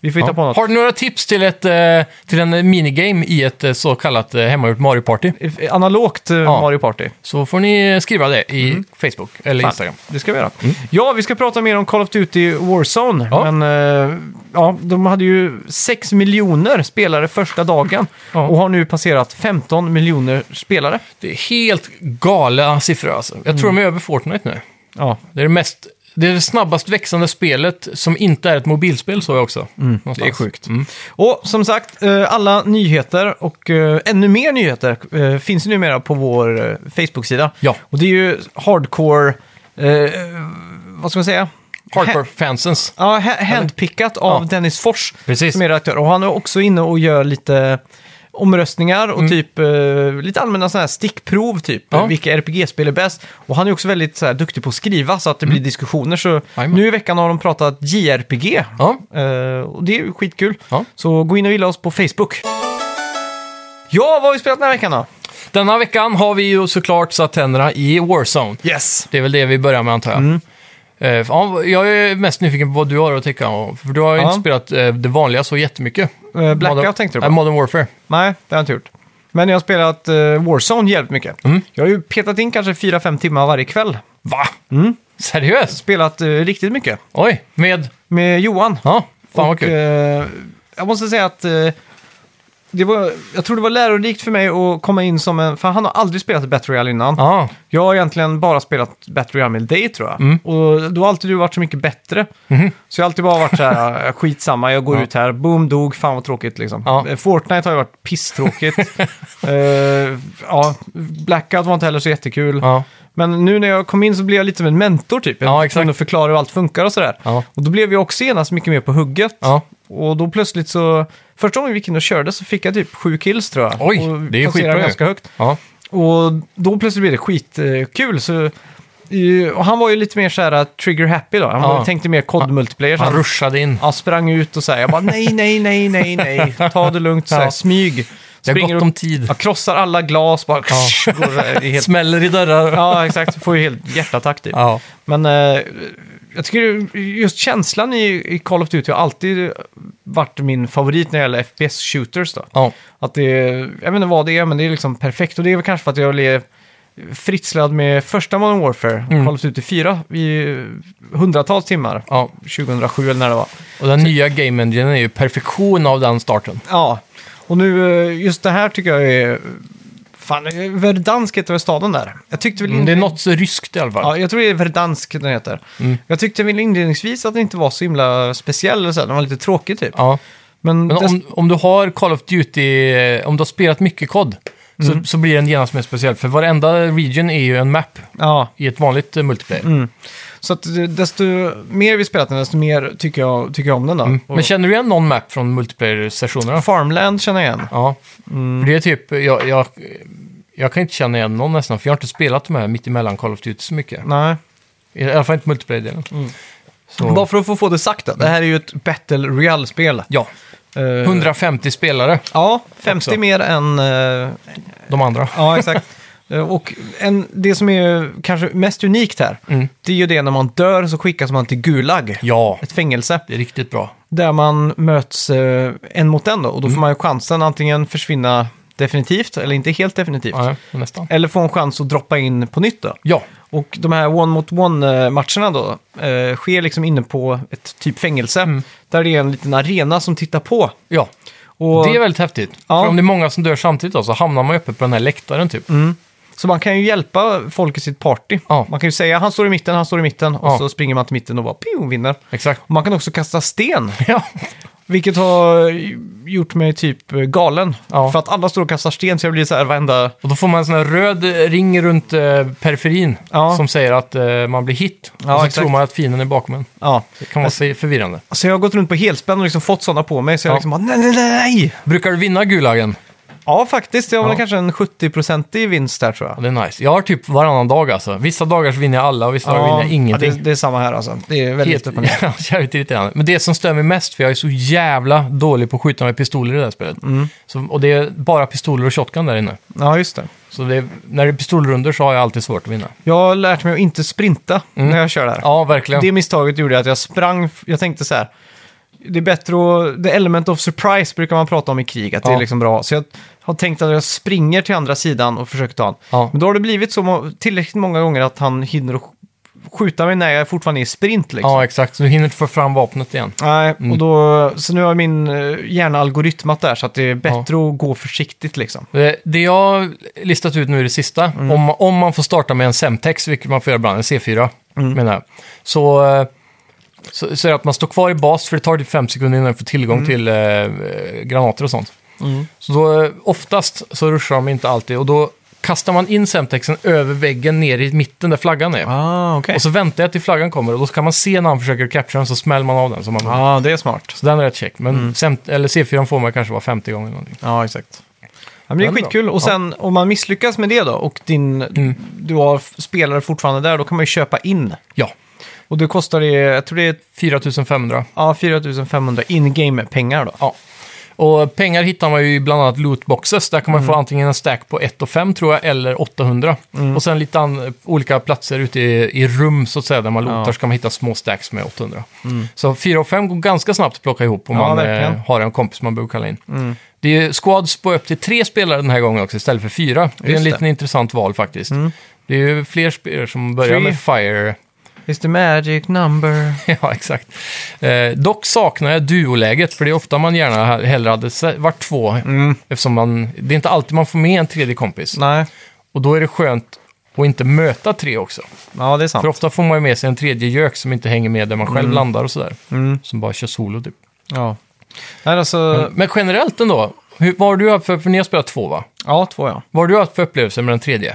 S1: vi får hitta på något.
S2: Har du några tips till, ett, eh, till en minigame i ett eh, så kallat eh, hemmagjort Mario Party?
S1: Analogt eh, Mario Party.
S2: Så får ni eh, skriva det i Facebook eller
S1: Mm. Fan,
S2: Instagram. Mm.
S1: Det ska vi göra. Ja, vi ska prata mer om Call of Duty Warzone.
S2: Ja.
S1: Men eh, ja, de hade ju 6 miljoner spelare första dagen
S2: Ja.
S1: och har nu passerat 15 miljoner spelare.
S2: Det är helt galna siffror alltså. Jag
S1: Mm.
S2: tror de är över Fortnite nu.
S1: Ja,
S2: Det är det, mest, det är det snabbast växande spelet som inte är ett mobilspel, så jag också.
S1: Mm,
S2: Mm.
S1: det är sjukt. Och som sagt, eh, alla nyheter och eh, ännu mer nyheter eh, finns ju numera på vår eh, Facebook-sida.
S2: Ja.
S1: Och det är ju hardcore, eh, vad ska man säga?
S2: Hardcore fansens.
S1: Ja, ha- handpickat av
S2: Ja.
S1: Dennis Fors
S2: Precis.
S1: som är redaktör. Och han är också inne och gör lite omröstningar och typ eh, lite allmänna sådana här stickprov, typ
S2: Mm. Ja.
S1: vilka RPG-spel är bäst. Och han är också väldigt så här, duktig på att skriva så att
S2: Mm.
S1: det blir diskussioner. Så
S2: Jajamän.
S1: nu i veckan har de pratat JRPG
S2: Ja.
S1: Eh, och det är ju skitkul.
S2: Ja.
S1: Så gå in och gilla oss på Facebook. Ja, vad har vi spelat den här veckan då?
S2: Denna veckan har vi ju såklart satt tänderna i Warzone.
S1: Yes!
S2: Det är väl det vi börjar med antar jag.
S1: Mm.
S2: Eh, ja, jag är mest nyfiken på vad du har att täcka om. För du har ju
S1: Ja.
S2: inte spelat eh, det vanliga så jättemycket.
S1: Eh, Blackout
S2: Modern-
S1: tänkte du på?
S2: Nej, Modern Warfare.
S1: Nej, det har jag inte gjort. Men jag har spelat eh, Warzone jävligt mycket.
S2: Mm.
S1: Jag har ju petat in kanske 4-5 timmar varje kväll.
S2: Va?
S1: Mm.
S2: Seriöst?
S1: Spelat eh, riktigt mycket
S2: Oj, med...
S1: med Johan.
S2: Ja, fan vad
S1: och,
S2: kul.
S1: eh, jag måste säga att eh, det var, jag tror det var lärorikt för mig att komma in som en... För han har aldrig spelat Battle Royale innan.
S2: Ja,
S1: Jag har egentligen bara spelat Battle Royale med dig tror jag.
S2: Mm.
S1: Och då har alltid du varit så mycket bättre. Så jag har alltid bara varit så här, "Ah, skitsamma, jag går
S2: Mhm. Ja.
S1: ut här, boom, dog, fan vad tråkigt liksom.
S2: Ja.
S1: Eh, Fortnite har ju varit pisstråkigt. Eh, ja, Blackout var inte heller så jättekul.
S2: ja.
S1: Men nu när jag kom in så blev jag lite som en mentor typ. Jag
S2: Ja,
S1: var
S2: exakt.
S1: tvungen att förklara hur allt funkar och sådär.
S2: Ja.
S1: Och då blev jag också genast mycket mer på hugget.
S2: ja.
S1: Och då plötsligt så, första gången vi gick in och körde så fick jag typ sju kills tror jag.
S2: Oj,
S1: och
S2: det är ju
S1: placerade
S2: skitbra ju.
S1: ganska högt.
S2: ja.
S1: Och då plötsligt blev det skitkul. Så, eh, och han var ju lite mer så här uh, trigger happy då. Han
S2: Ja.
S1: var- tänkte mer COD multiplayer. så
S2: Han
S1: Han,
S2: ruschade in.
S1: han sprang ut och så här, jag bara nej, nej, nej, nej, nej. Ta det lugnt, så här,
S2: Ja.
S1: smyg.
S2: Det har
S1: Springer
S2: gått
S1: upp,
S2: om tid.
S1: jag krossar alla glas, bara
S2: Ja.
S1: går så här i helt...
S2: Smäller i dörrar.
S1: Ja, exakt. Får ju helt hjärtattack typ.
S2: Ja.
S1: Men eh, jag tycker ju- just känslan i, i Call of Duty har alltid varit min favorit när det gäller FPS-shooters. Då.
S2: Ja.
S1: Att det är, jag vet inte vad det är, men det är liksom perfekt. Och det är väl kanske för att jag blev fritslad med första Modern Warfare,
S2: Mm.
S1: Call of Duty 4, i hundratals timmar.
S2: ja.
S1: 2007 eller när det var.
S2: Och den nya Game Engine är ju perfektion av den starten.
S1: Ja, och nu eh, just det här tycker jag är... Fan, eh, Verdansk heter väl staden där? Jag tyckte väl
S2: Mm, Det är
S1: inte-
S2: något så ryskt i alla fall.
S1: Ja, jag tror det är Verdansk den heter.
S2: Mm.
S1: Jag tyckte väl inledningsvis att den inte var så himla speciell, eller så här, den var lite tråkig typ.
S2: Ja.
S1: Men,
S2: Men
S1: dess-
S2: om, om du har Call of Duty, eh, om du har spelat mycket COD,
S1: Mm.
S2: så, så blir den genast mer speciell. För varenda region är ju en map
S1: ja,
S2: i ett vanligt eh, multiplayer.
S1: Mm. så att eh, desto mer vi spelat den, desto mer tycker jag, tycker jag om den då. Och
S2: Mm. Men känner du igen någon map från multiplayer-sessionerna?
S1: Farmland känner jag igen.
S2: Ja.
S1: Mm.
S2: För det är typ, jag, jag, jag kan inte känna igen någon nästan, för jag har inte spelat de här mittemellan Call of Duty så mycket.
S1: Nej.
S2: I alla fall inte multiplayer-delen. Så-
S1: Mm. Bara för att få få det sagt då. Det här är ju ett Battle Royale-spel.
S2: Ja,
S1: Eh,
S2: 150 spelare,
S1: Ja, 50
S2: också.
S1: mer än... eh,
S2: de andra.
S1: ja, exakt. Eh, Och en, det som är kanske mest unikt här, det är ju det när man dör så skickas man till Gulag,
S2: Mm. Ja,
S1: ett fängelse.
S2: det är riktigt bra.
S1: där man möts eh, en mot en då. Och då
S2: Mm.
S1: får man ju chansen antingen försvinna definitivt, eller inte helt definitivt.
S2: Ja, nästan.
S1: Eller få en chans att droppa in på nytt då.
S2: Ja,
S1: Och de här one mot one eh, matcherna då eh, sker liksom inne på ett typ fängelse.
S2: Mm.
S1: Där det är en liten arena som tittar på.
S2: ja.
S1: Och,
S2: Det är väldigt häftigt.
S1: Ja. Mm.
S2: För om det är många som dör samtidigt då, så hamnar man ju uppe på den här läktaren typ.
S1: Så man kan ju hjälpa folk i sitt party.
S2: Ja.
S1: Man kan ju säga han står i mitten, han står i mitten. Och
S2: Ja.
S1: så springer man till mitten och bara pio, vinner.
S2: Exakt.
S1: Och man kan också kasta sten.
S2: Ja.
S1: Vilket har gjort mig typ galen.
S2: Ja.
S1: För att alla står och kastar sten så jag blir så här varenda...
S2: Och då får man en sån här röd ring runt eh, periferin
S1: Ja.
S2: som säger att eh, man blir hit.
S1: Ja,
S2: och så
S1: exakt. Alltså-
S2: tror man att fienden är bakom en.
S1: Ja.
S2: Det kan vara så förvirrande.
S1: Så jag har gått runt på helspänn och liksom fått sådana på mig. Så jag
S2: Ja.
S1: liksom bara, nej, nej, nej, nej.
S2: Brukar du vinna Gulagen?
S1: Ja, faktiskt. Jag har väl
S2: Ja.
S1: kanske en 70-procentig vinst där tror jag.
S2: Ja, det är nice. Jag har typ varannan dag alltså. Vissa dagar så vinner jag alla och vissa dagar vinner jag ingenting.
S1: det, det är samma här alltså. Det är väldigt öppen.
S2: Helt jävligt irriterande. Men det som stör mig mest, för jag är så jävla dålig på att skjuta med pistoler i det här spelet.
S1: Mm.
S2: Så, och det är bara pistoler och shotgun där inne.
S1: Ja, just det.
S2: Så det, när det är pistolrunder så har jag alltid svårt att vinna.
S1: Jag har lärt mig att inte sprinta när jag kör där.
S2: Mm. Ja, verkligen.
S1: Det misstaget gjorde jag att jag sprang, jag tänkte så här. Det är bättre att, the element of surprise brukar man prata om i krig, att det
S2: Ja.
S1: är liksom bra. Så jag har tänkt att jag springer till andra sidan och försöker ta honom.
S2: Ja.
S1: Men då har det blivit så må- tillräckligt många gånger att han hinner att sk- skjuta mig när jag fortfarande är i sprint liksom.
S2: Ja, exakt. Så du hinner inte få fram vapnet igen.
S1: Nej, och då, så nu har min eh, hjärna algoritmat där så att det är bättre att gå försiktigt liksom.
S2: Det, Eh, det jag listat ut nu i det sista,
S1: Mm.
S2: om, om man får starta med en Semtex, vilket man får göra ibland, en C4,
S1: Mm.
S2: menar jag, så, eh, så, så är det att man står kvar i bas, för det tar typ fem sekunder innan du får tillgång
S1: Mm.
S2: till eh, eh, granater och sånt. Så då, eh, oftast så ruschar de inte alltid, och då kastar man in Semtexen över väggen ner i mitten där flaggan är.
S1: Ah, okej.
S2: Och så väntar jag till flaggan kommer, och då kan man se när han försöker capture den, så smäller man av den. Så, man,
S1: Ja, det är smart.
S2: så den är rätt check. Men Semt- eller C4 får man kanske vara 50 gånger eller någonting.
S1: Ja, exakt. Ja, Mm. men det är
S2: Den är
S1: skitkul. Och sen om man misslyckas med det då och din, du har f- spelare fortfarande där, då kan man ju köpa in.
S2: Ja,
S1: Och det kostar det, jag tror det är
S2: 4500.
S1: ja, 4500 in-game-pengar då.
S2: Ja. Och pengar hittar man ju i bland annat lootboxes. Där kan man
S1: Mm.
S2: få antingen en stack på 1 och 5 tror jag, eller 800.
S1: Mm.
S2: Och sen lite an- olika platser ute i, i rum så att säga, där man lootar,
S1: Ja. Mm.
S2: så kan man hitta små stacks med 800. Så 4 och 5 går ganska snabbt att plocka ihop om
S1: Ja,
S2: man eh,
S1: verkligen. Mm.
S2: har en kompis man behöver kalla in. Det är ju squads på upp till tre spelare den här gången också, istället för fyra. Det är
S1: Just
S2: en
S1: det. Mm.
S2: liten intressant val faktiskt. Det är ju fler spelare som börjar
S1: Three.
S2: med Fire.
S1: Is the magic number?
S2: Ja, exakt. Eh, dock saknar jag duoläget, för det är ofta man gärna he- hellre hade se- varit två. Eftersom man, det är inte alltid man får med en tredje kompis.
S1: Nej,
S2: Och då är det skönt att inte möta tre också.
S1: ja det är
S2: För
S1: sant.
S2: ofta får man ju med sig en tredje gök som inte hänger med där man själv landar och sådär. Som bara kör solo typ.
S1: Ja. Nej, alltså,
S2: Men generellt ändå, hur, vad har du haft för, för ni har spelat två va?
S1: ja, två ja.
S2: Vad har du haft för upplevelser med den tredje?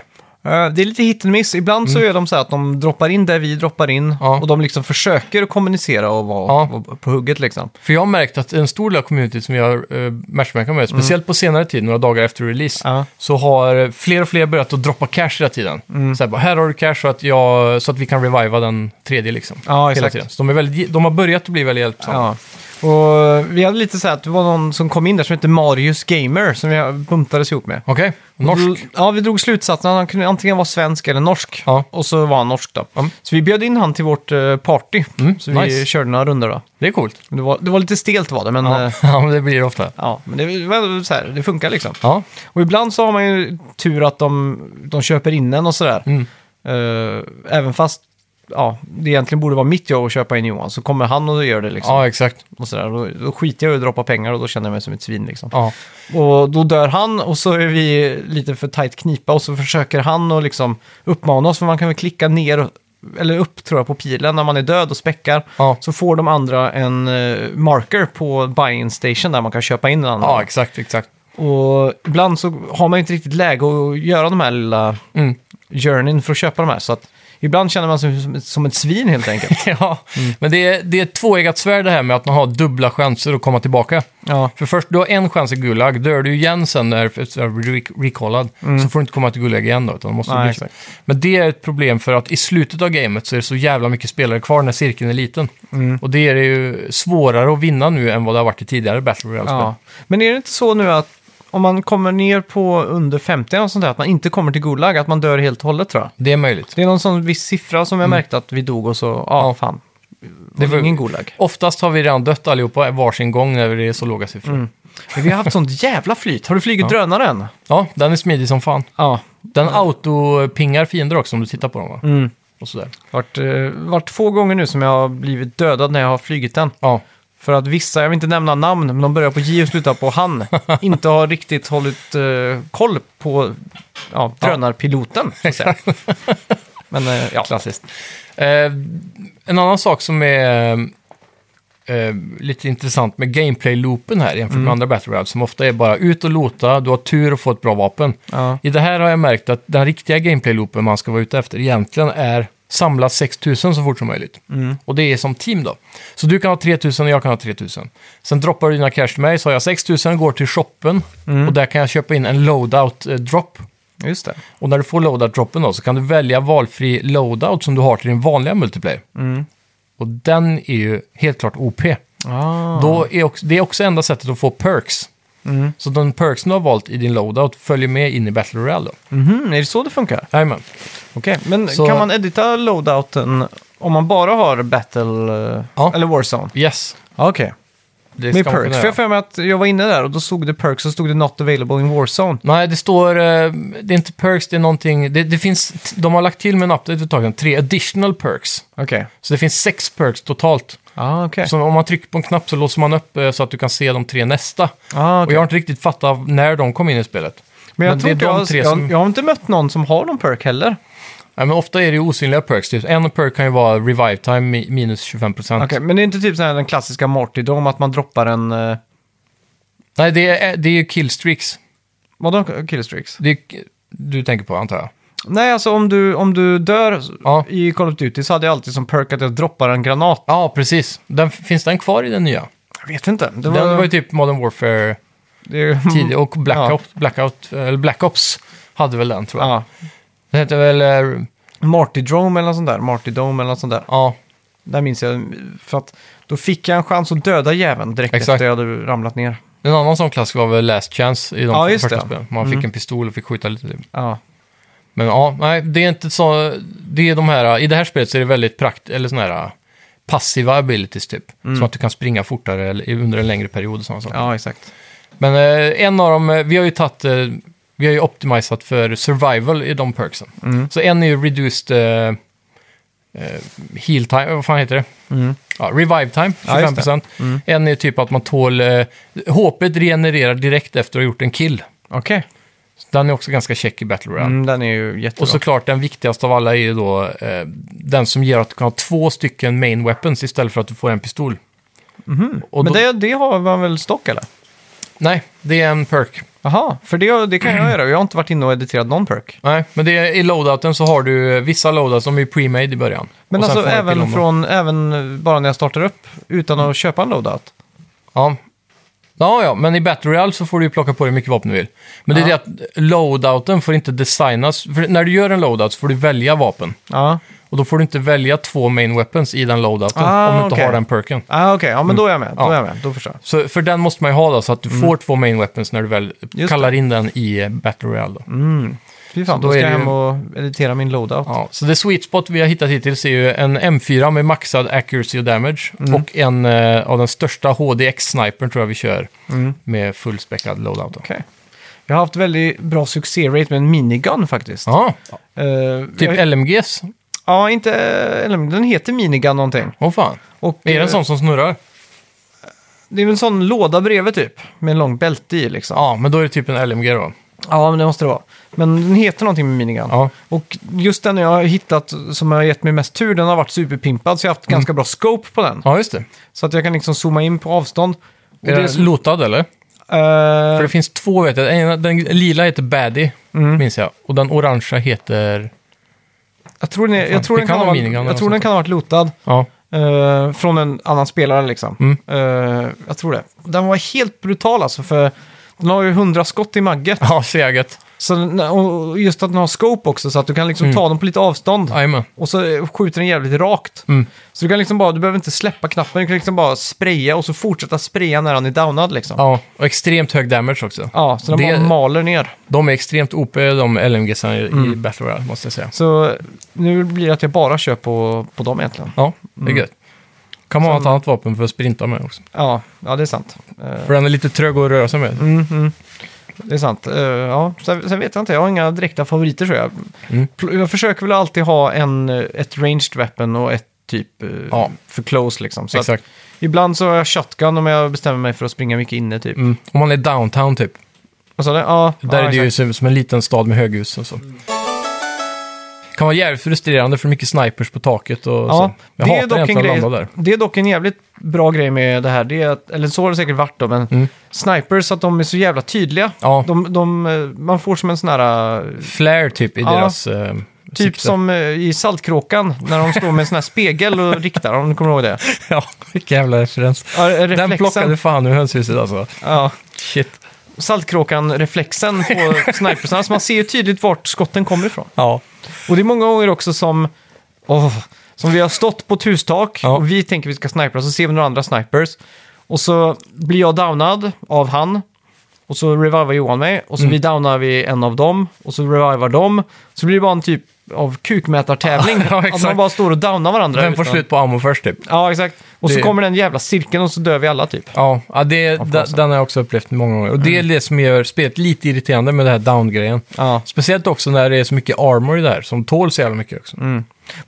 S1: Eh, Det är lite hit and miss. Ibland så är de så här att de droppar in där vi droppar in
S2: Mm. Ja.
S1: och de liksom försöker att kommunicera och vara,
S2: Ja.
S1: vara på hugget liksom.
S2: För jag har märkt att en stor del av communityt som jag har eh, matchmakat med, speciellt på senare tid, några dagar efter release,
S1: Mm. Ja.
S2: så har fler och fler börjat att droppa cash hela tiden.
S1: Mm.
S2: Så här, bara, här har du cash så att, jag, så att vi kan reviva den tredje liksom.
S1: Ja,
S2: hela
S1: exakt.
S2: tiden. Så de, är väldigt, de har börjat att bli väldigt hjälpsamma.
S1: Ja. Och vi hade lite så här att det var någon som kom in där som hette Marius Gamer som vi buntades ihop med.
S2: Okej, norsk.
S1: Ja, vi drog slutsatsen att han kunde antingen vara svensk eller norsk.
S2: Ja.
S1: Och så var han norsk då.
S2: Mm.
S1: Så vi bjöd in han till vårt eh, party. så vi
S2: nice.
S1: körde några runder då.
S2: Det är coolt.
S1: Det var, det var lite stelt var det, men,
S2: Ja,
S1: eh,
S2: ja men det blir det ofta.
S1: ja, men det, var så här, det funkar liksom.
S2: Ja,
S1: Och ibland så har man ju tur att de, de köper in en och sådär.
S2: Mm.
S1: Eh, även fast ja, det egentligen borde vara mitt jobb att köpa in Johan, så kommer han och gör det liksom.
S2: ja exakt.
S1: Och sådär. Då, då skiter jag i att droppa pengar och då känner jag mig som ett svin liksom.
S2: Ja.
S1: Och då dör han och så är vi lite för tajt knipa och så försöker han att liksom uppmana oss, för man kan väl klicka ner eller upp tror jag på pilen när man är död och späckar.
S2: Ja.
S1: Så får de andra en eh, marker på buy-in station där man kan köpa in en annan.
S2: ja, exakt, exakt.
S1: Och ibland så har man ju inte riktigt läge att göra de här lilla
S2: Mm.
S1: journeyn för att köpa de här. Så att ibland känner man sig som- som ett svin helt enkelt.
S2: ja,
S1: Mm.
S2: men det är, det är ett tvåeggat svärd det här med att man har dubbla chanser att komma tillbaka.
S1: ja.
S2: För först, du har en chans i Gulag, dör du igen sen när efter att du blir re- recallad, så får du inte komma till Gulag igen då, utan du måste
S1: Mm. Nej,
S2: bli-
S1: exakt.
S2: Men det är ett problem för att i slutet av gamet så är det så jävla mycket spelare kvar när cirkeln är liten.
S1: Mm.
S2: Och det är ju svårare att vinna nu än vad det har varit i tidigare Battle royale
S1: ja.
S2: spel
S1: Men är det inte så nu att om man kommer ner på under 50 och sånt där, att man inte kommer till Gulag, att man dör helt och hållet tror jag.
S2: Det är möjligt.
S1: Det är någon sån viss siffra som jag märkte att vi dog och så, Mm. ja
S2: Ja.
S1: fan. Det
S2: Det
S1: var
S2: var-
S1: ingen Gulag.
S2: Oftast har vi redan dött allihopa varsin gång när det är så låga siffror.
S1: Mm. Men vi har haft sånt jävla flyt. Har du flugit drönare än?
S2: Ja, den är smidig som fan.
S1: Ja.
S2: Den autopingar fiender också om du tittar på dem va?
S1: Mm.
S2: Och sådär.
S1: Vart, eh, vart två gånger nu som jag har blivit dödad när jag har flugit den.
S2: Ja.
S1: För att vissa, jag vill inte nämna namn, men de börjar på J och slutar på han, inte har riktigt hållit eh, koll på ja, drönarpiloten. Så att säga. Men eh, ja,
S2: Klassiskt. Eh, en annan sak som är eh, lite intressant med gameplay-loopen här jämfört
S1: Mm.
S2: med andra Battle Royale, som ofta är bara ut och lota, du har tur och får ett bra vapen.
S1: ja,
S2: I det här har jag märkt att den riktiga gameplay-loopen man ska vara ute efter egentligen är samla 6000 så fort som möjligt.
S1: Mm.
S2: Och det är som team då. Så du kan ha 3000 och jag kan ha 3000. Sen droppar du dina cash till mig, så har jag 6000 går till shoppen
S1: Mm.
S2: och där kan jag köpa in en eh, loadout-drop.
S1: Just det.
S2: Och när du får loadout-droppen då så kan du välja valfri loadout som du har till din vanliga multiplayer.
S1: Mm.
S2: Och den är ju helt klart OP.
S1: Ah. Mm.
S2: Då är också, det är också enda sättet att få perks. Så de perksen du har valt i din loadout följer med in i Battle Royale då.
S1: Mhm, är det så det funkar?
S2: Jajamän.
S1: Okej, men
S2: Så-
S1: kan man edita loadouten om man bara har Battle eh,
S2: Ja.
S1: eller Warzone?
S2: Yes.
S1: Ja, Okej,
S2: Det
S1: med
S2: ska man kunna
S1: perks. För
S2: göra.
S1: jag får med att jag var inne där och då stod det perks och stod det Not available in Warzone.
S2: Nej, det står... eh, Det är inte perks, det är någonting... Det, det finns... De har lagt till med en update för ett tag sedan, tre additional perks.
S1: Okej.
S2: Så det finns sex perks totalt.
S1: Ah, okej.
S2: Så om man trycker på en knapp så låser man upp eh, så att du kan se de tre nästa.
S1: Ah,
S2: Och
S1: okej.
S2: jag har inte riktigt fattat när de kom in i spelet.
S1: Men jag
S2: men
S1: tror
S2: det är
S1: inte
S2: de
S1: jag,
S2: tre
S1: jag,
S2: som-
S1: jag har inte mött någon som har någon perk heller.
S2: Nej, men ofta är det ju osynliga perks. Typ. En perk kan ju vara revive time mi- minus 25 procent.
S1: Okej, men det är inte typ sån här den klassiska Martydom, att man droppar en... Eh,
S2: Nej, det är, det är ju killstreaks.
S1: vadå killstreaks?
S2: Det är, du tänker på, antar jag.
S1: Nej, alltså om du, om du dör
S2: Ja.
S1: i Call of Duty så hade jag alltid som perk att jag droppar en granat.
S2: Ja, precis. Den, finns den kvar i den nya?
S1: Jag vet inte. Det
S2: Den var ju typ Modern Warfare
S1: det är-
S2: tidig och Black,
S1: Ja.
S2: Ops, Blackout, eller Black Ops hade väl den, tror jag.
S1: Ja.
S2: Den hette väl... eh,
S1: Martydrome eller något sånt där. Martydome eller något sånt där.
S2: Ja,
S1: Där minns jag. För att då fick jag en chans att döda jäveln direkt
S2: Exakt.
S1: efter jag hade ramlat ner.
S2: en annan sån klassisk var väl Last Chance i de
S1: Ja, just
S2: första
S1: det. Mm.
S2: spelen. Man fick en pistol och fick skjuta lite. Typ.
S1: Ja.
S2: Men ja, nej, det är inte så... Det är de här... I det här spelet så är det väldigt prakt... Eller såna här passiva abilities typ. Som att du kan springa fortare eller, under en längre period och sådana saker.
S1: Mm. ja, exakt.
S2: Men eh, en av dem, eh, vi har ju tagit, eh, vi har ju optimisat för survival i de perksen.
S1: Mm.
S2: Så en är ju reduced eh, eh, heal time, vad fan heter det? Ja, revive time,
S1: Mm. Ja, just det. Mm.
S2: 25%. En är typ att man tål, eh, HP regenererar direkt efter att ha gjort en kill.
S1: Okej.
S2: Så Den är också ganska check i Battle Royale.
S1: Mm, den är ju jättebra.
S2: Och såklart den viktigaste av alla är ju då eh, den som ger att du kan ha två stycken main weapons istället för att du får en pistol. Och
S1: Mhm. Men
S2: då,
S1: det, det har man väl stock eller?
S2: Nej, det är en perk.
S1: Jaha, för det, det kan jag göra. Jag har inte varit inne och editerat någon perk.
S2: Nej, men det är, i loadouten så har du eh, vissa loadouts som är pre-made i början.
S1: Men
S2: Och sen
S1: alltså
S2: får man pilla
S1: även,
S2: om dem.
S1: från, även bara när jag startar upp utan att köpa en loadout?
S2: Ja. ja, ja, men i Battle Royale så får du ju plocka på dig hur mycket vapen du vill. Men det är det att loadouten får inte designas. För när du gör en loadout så får du välja vapen.
S1: Ja,
S2: Och då får du inte välja två main weapons i den loadouten
S1: Ah,
S2: om du inte
S1: okej.
S2: har den perken.
S1: ah, okej. Ja, men då är jag med. Då
S2: Mm. Ja.
S1: är jag med. Då förstår jag.
S2: Så för den måste man ju ha då, så att
S1: Mm.
S2: du får två main weapons när du väl kallar in den i eh, Battle Royale. Då.
S1: Mm. Fy fan,
S2: då
S1: då, ska
S2: är
S1: jag
S2: det ju-
S1: hem och editera min loadout.
S2: Ja, så det sweet spot vi har hittat hittills är ju en M4 med maxad accuracy och damage
S1: Mm.
S2: och en eh, av den största HDX-snipern tror jag vi kör med fullspäckad loadout. då.
S1: Mm. Okej. Jag har haft väldigt bra succérate med en minigun faktiskt.
S2: Ja,
S1: Eh,
S2: typ
S1: jag,
S2: LMGs.
S1: Ja, inte... Eller, den heter minigun någonting.
S2: Åh fan.
S1: Och,
S2: Är det
S1: eh,
S2: en sån som snurrar?
S1: Det är väl en sån låda bredvid typ, med en lång bälte i liksom.
S2: Ja, men då är det typ en LMG då.
S1: Ja, men det måste det vara. Men den heter någonting med minigun.
S2: Ja,
S1: Och just den jag har hittat, som har gett mig mest tur, den har varit superpimpad, så jag har haft
S2: Mm.
S1: ganska bra scope på den.
S2: ja just det.
S1: Så att jag kan liksom zooma in på avstånd. Eh, Och
S2: Är
S1: det är
S2: den
S1: så-
S2: lotad eller? För
S1: eh,
S2: det finns två vet jag. En- Den lila heter Baddy,
S1: Mm.
S2: minns jag. Och den orangea heter...
S1: jag tror den, är-
S2: Fan,
S1: jag tror
S2: det
S1: den
S2: kan
S1: kan ha
S2: vara
S1: varit,
S2: minigun eller
S1: jag tror
S2: något
S1: den kan ha varit lotad.
S2: Ja,
S1: eh, från en annan spelare liksom.
S2: Mm.
S1: Eh, jag tror det. Den var helt brutal alltså, för den har ju hundra skott i magget.
S2: ja seget.
S1: Så, den- och just att den har scope också, så att du kan liksom
S2: Mm.
S1: ta dem på lite avstånd.
S2: Jajamän.
S1: Och så skjuter den jävligt rakt.
S2: Mm.
S1: Så du kan liksom bara, du behöver inte släppa knappen, du kan liksom bara spraya och så fortsätta spraya när han är downad liksom. Ja,
S2: Ja, och extremt hög damage också.
S1: så den
S2: Det-
S1: bara maler ner.
S2: De är extremt OP, de LMG-sarna i- i
S1: Mm.
S2: Battle Royale, måste jag säga.
S1: Så nu blir det att jag bara kör på, på dem egentligen.
S2: Ja, det är gött. Kan man ha ett annat vapen för att sprinta med också.
S1: Ja, ja det är sant. Eh,
S2: För den är lite trög att röra sig med.
S1: Mm. det är sant. Eh, ja, sen, sen vet jag inte, jag har inga direkta favoriter tror jag.
S2: Mm.
S1: Pl- Jag försöker väl alltid ha en, eh, ett ranged weapon och ett typ eh,
S2: Ja.
S1: för close liksom. Så att,
S2: Exakt.
S1: ibland så har jag shotgun om jag bestämmer mig för att springa mycket inne typ.
S2: Mm. Om man är downtown typ.
S1: Vad sa du? Ja,
S2: Där
S1: ja,
S2: är det
S1: exakt.
S2: ju som, som en liten stad med höghus och så. kan vara jävligt frustrerande för mycket snipers på taket och så. Jag
S1: det är
S2: hatar
S1: dock en
S2: egentligen att
S1: grej,
S2: landa där.
S1: Det är dock en jävligt bra grej med det här. Det är att, eller så har det säkert varit då, men
S2: Mm.
S1: snipers att de är så jävla tydliga.
S2: Ja,
S1: De, de, eh, man får som en sån här... eh,
S2: flare typ i
S1: Ja.
S2: deras eh,
S1: Typ
S2: Sikta.
S1: som eh, i Saltkråkan, när de står med en sån här spegel och riktar, om du kommer ihåg det.
S2: Ja, vilken jävla referens.
S1: Ja, reflexen.
S2: Den plockade fan ur hönshuset alltså.
S1: Ja,
S2: Shit.
S1: Saltkråkan-reflexen på snipersarna, så man ser ju tydligt vart skotten kommer ifrån.
S2: Ja.
S1: Och det är många gånger också som, åh, som vi har stått på ett hustak
S2: Ja.
S1: och vi tänker vi ska snipera, så ser vi några andra snipers. Och så blir jag downad av han. Och så revivar Johan mig. Och så
S2: Mm.
S1: vi downar vi en av dem. Och så revivar de. Så blir det bara en typ av kukmätartävling.
S2: Ja,
S1: att
S2: exakt.
S1: man bara står och downar varandra.
S2: Vem får
S1: utan-
S2: slut på ammo först typ?
S1: Ja, exakt. Och så
S2: Det-
S1: kommer den jävla cirkeln och så dör vi alla typ.
S2: Ja, ja det,
S1: fasen.
S2: da- den har jag också upplevt många gånger. Och det är det som gör spelet lite irriterande med det här down-grejen.
S1: Ja.
S2: Speciellt också när det är så mycket armor i det här, som tål så jävla mycket också.
S1: Men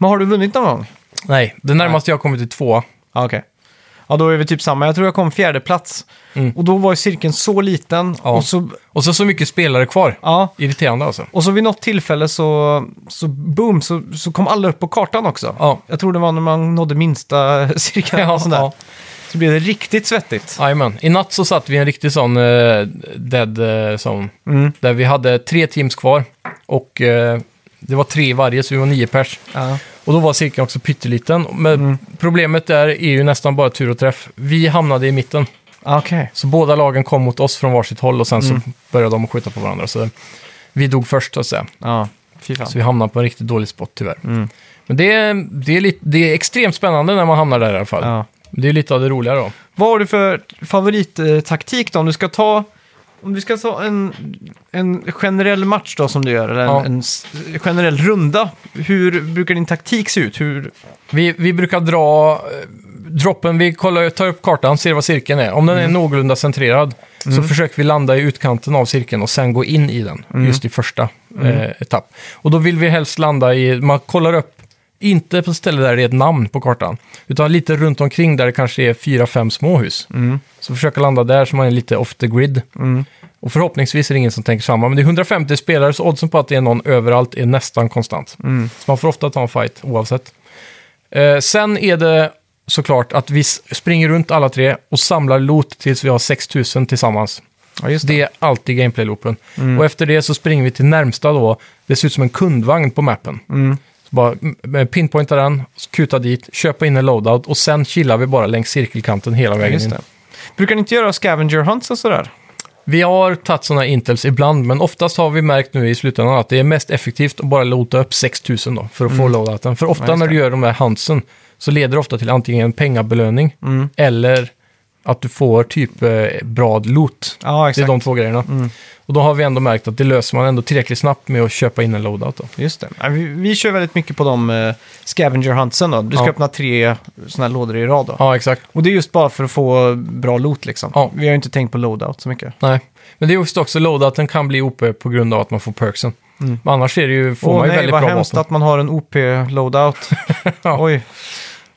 S1: har du vunnit någon gång?
S2: Mm. Nej, det närmaste jag har kommit är två.
S1: Ja, okej. Ja, då är vi typ samma. Jag tror jag kom fjärde plats. Och då var ju cirkeln så liten.
S2: Mm. Ja.
S1: Och så...
S2: Och så så mycket spelare kvar.
S1: Ja,
S2: Irriterande alltså.
S1: Och så vid något tillfälle så, så boom, så, så kom alla upp på kartan också.
S2: Ja.
S1: Jag tror det var när man nådde minsta cirkeln och sådär.
S2: ja.
S1: Så blev det riktigt svettigt.
S2: Jajamän. I natt så satt vi i en riktig sån eh, dead eh, zone. Där vi hade tre teams kvar. Och eh, det var tre i varje, så vi var nio pers.
S1: Ja.
S2: Och då var cirkeln också pytteliten. Men problemet där är ju nästan bara tur och träff. Vi hamnade i mitten.
S1: Okej.
S2: Så båda lagen kom mot oss från varsitt håll och sen så började de att skjuta på varandra. Så vi dog först så att säga.
S1: Ja, fy fan.
S2: Så vi hamnade på en riktigt dålig spot tyvärr. Men det är, det, är lite, det är extremt spännande när man hamnar där i alla fall.
S1: Ja.
S2: Det är lite av det roliga då.
S1: Vad har du för favorittaktik då? Om du ska ta, om du ska ta en, en generell match då som du gör, eller en,
S2: Ja.
S1: en s- generell runda. Hur brukar din taktik se ut? Hur,
S2: Vi, vi brukar dra eh, droppen, vi kollar, tar upp kartan, ser vad cirkeln är. Om den är någorlunda centrerad så försöker vi landa i utkanten av cirkeln och sen gå in i den, just i första eh, etapp. Och då vill vi helst landa i, man kollar upp, inte på stället där det är ett namn på kartan, utan lite runt omkring där det kanske är fyra, fem småhus. Så försöka landa där så man är lite off the grid.
S1: Mm.
S2: Och förhoppningsvis är det ingen som tänker samma, men det är 150 spelare så oddsen på att det är någon överallt är nästan konstant.
S1: Mm.
S2: Så man får ofta ta en fight oavsett. Eh, sen är det såklart att vi s- springer runt alla tre och samlar loot tills vi har 6000 tillsammans.
S1: ja, just Mm.
S2: Det är alltid gameplay-loopen. Och efter det så springer vi till närmsta då. Det ser ut som en kundvagn på mappen.
S1: Mm.
S2: Så bara m- m- pinpointa den, kuta dit, köpa in en loadout och sen chillar vi bara längs cirkelkanten hela vägen
S1: Just
S2: in.
S1: det. Brukar ni inte göra scavenger hunts och sådär?
S2: Vi har tagit sådana intels ibland, men oftast har vi märkt nu i slutändan att det är mest effektivt att bara loota upp 6000 då, för att få loadouten. För ofta
S1: Mm. Ja, just
S2: när
S1: det.
S2: du gör de här handsen så leder det ofta till antingen pengabelöning
S1: Mm.
S2: eller att du får typ eh, bra loot.
S1: Ja,
S2: Det är
S1: exakt. Mm.
S2: de två grejerna. Och då har vi ändå märkt att det löser man ändå tillräckligt snabbt med att köpa in en loadout. Då.
S1: Just det. Ja, Vi, vi kör väldigt mycket på de eh, scavenger huntsen då. Du ska
S2: Ja.
S1: öppna tre sådana här lådor i rad då.
S2: Ja, exakt.
S1: Och det är just bara för att få bra loot liksom.
S2: Ja.
S1: Vi har ju inte tänkt på loadout så mycket.
S2: Nej, men det är just också loadouten kan bli OP på grund av att man får perksen. Men annars är det ju, får
S1: Mm. Åh
S2: man ju
S1: nej,
S2: väldigt
S1: vad
S2: bra
S1: hemskt
S2: vapen.
S1: att man har en OP-loadout.
S2: Ja.
S1: Oj.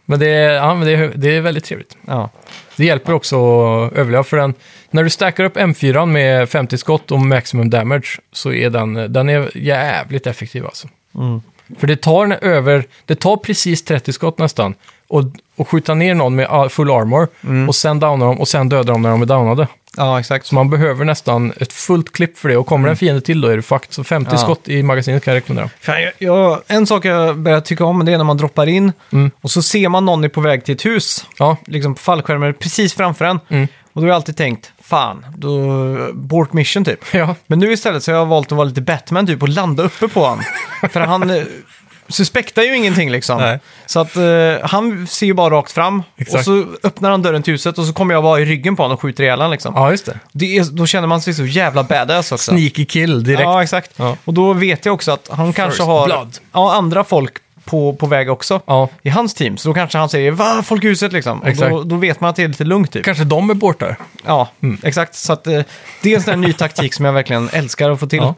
S2: Men, det är, ja, men det, är, det är väldigt trevligt.
S1: Ja.
S2: Det hjälper också att överleva för den. När du stackar upp M4 med 50 skott och maximum damage så är den, den är jävligt effektiv alltså.
S1: Mm.
S2: För det tar, en över, det tar precis 30 skott nästan och, och skjuta ner någon med all- full armor
S1: Mm.
S2: och sen downa dem och sen döda dem när de är downade.
S1: ja, exakt.
S2: Så man behöver nästan ett fullt klipp för det och kommer en fiende till då är du fucked. Så 50
S1: Mm. Ja.
S2: skott i magasinet kan jag rekommendera.
S1: Fan, jag, jag, en sak jag börjar tycka om det är när man droppar in
S2: Mm.
S1: och så ser man någon är på väg till ett hus.
S2: Ja,
S1: Liksom på fallskärmen precis framför en.
S2: Mm.
S1: Och då har jag alltid tänkt, fan, då, bort mission typ.
S2: ja.
S1: Men nu istället så har jag valt att vara lite Batman typ och landa uppe på han. För han eh, suspektar ju ingenting liksom.
S2: Nej.
S1: Så att eh, han ser ju bara rakt fram. Och
S2: Exakt.
S1: så öppnar han dörren till huset och så kommer jag vara i ryggen på honom och skjuter ihjäl honom liksom.
S2: ja just det.
S1: Det är, då känner man sig så jävla badass också.
S2: Sneaky kill direkt.
S1: Ja, exakt.
S2: Ja.
S1: Och då vet jag också att han kanske har
S2: blood.
S1: Ja, andra folk på, på väg också.
S2: Ja.
S1: I hans team. Så då kanske han säger va, folk i huset liksom. Och
S2: Exakt.
S1: då, då vet man att det är lite lugnt typ.
S2: Kanske Mm. de är borta.
S1: Ja, exakt. Så att, eh, det är en sån här ny taktik som jag verkligen älskar att få till.
S2: Ja.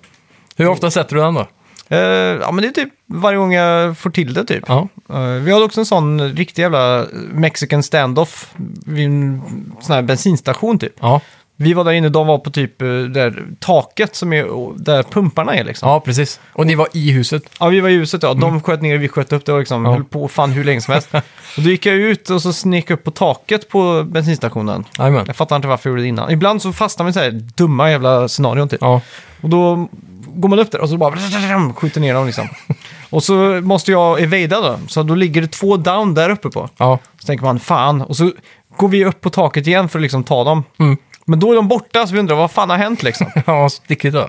S2: Hur ofta sätter du den då?
S1: Eh, ja, men det är typ varje gång jag får till det typ.
S2: Ja.
S1: Eh, vi hade också en sån riktig jävla mexican standoff vid en sån här bensinstation typ.
S2: Ja.
S1: Vi var där inne, de var på typ eh, där taket som är där pumparna är liksom. Ja,
S2: Ja, precis. Och ni var i huset.
S1: vi var i huset ja,
S2: Mm.
S1: de sköt ner, vi sköt upp det och liksom höll på fan hur länge som helst. och då gick jag ut och så snek upp på taket på bensinstationen.
S2: Jajamän.
S1: Jag fattar inte varför jag gjorde det innan. Ibland så fastnar man i så här dumma jävla scenarion typ.
S2: Ja.
S1: Och då går man upp där och så bara skjuter ner dem liksom. Och så måste jag evada då, så då ligger det två down där uppe på.
S2: Ja.
S1: Så tänker man fan, och så går vi upp på taket igen för att liksom ta dem.
S2: Mm.
S1: Men då är de borta, så vi undrar vad fan har hänt liksom.
S2: ja, stickigt då.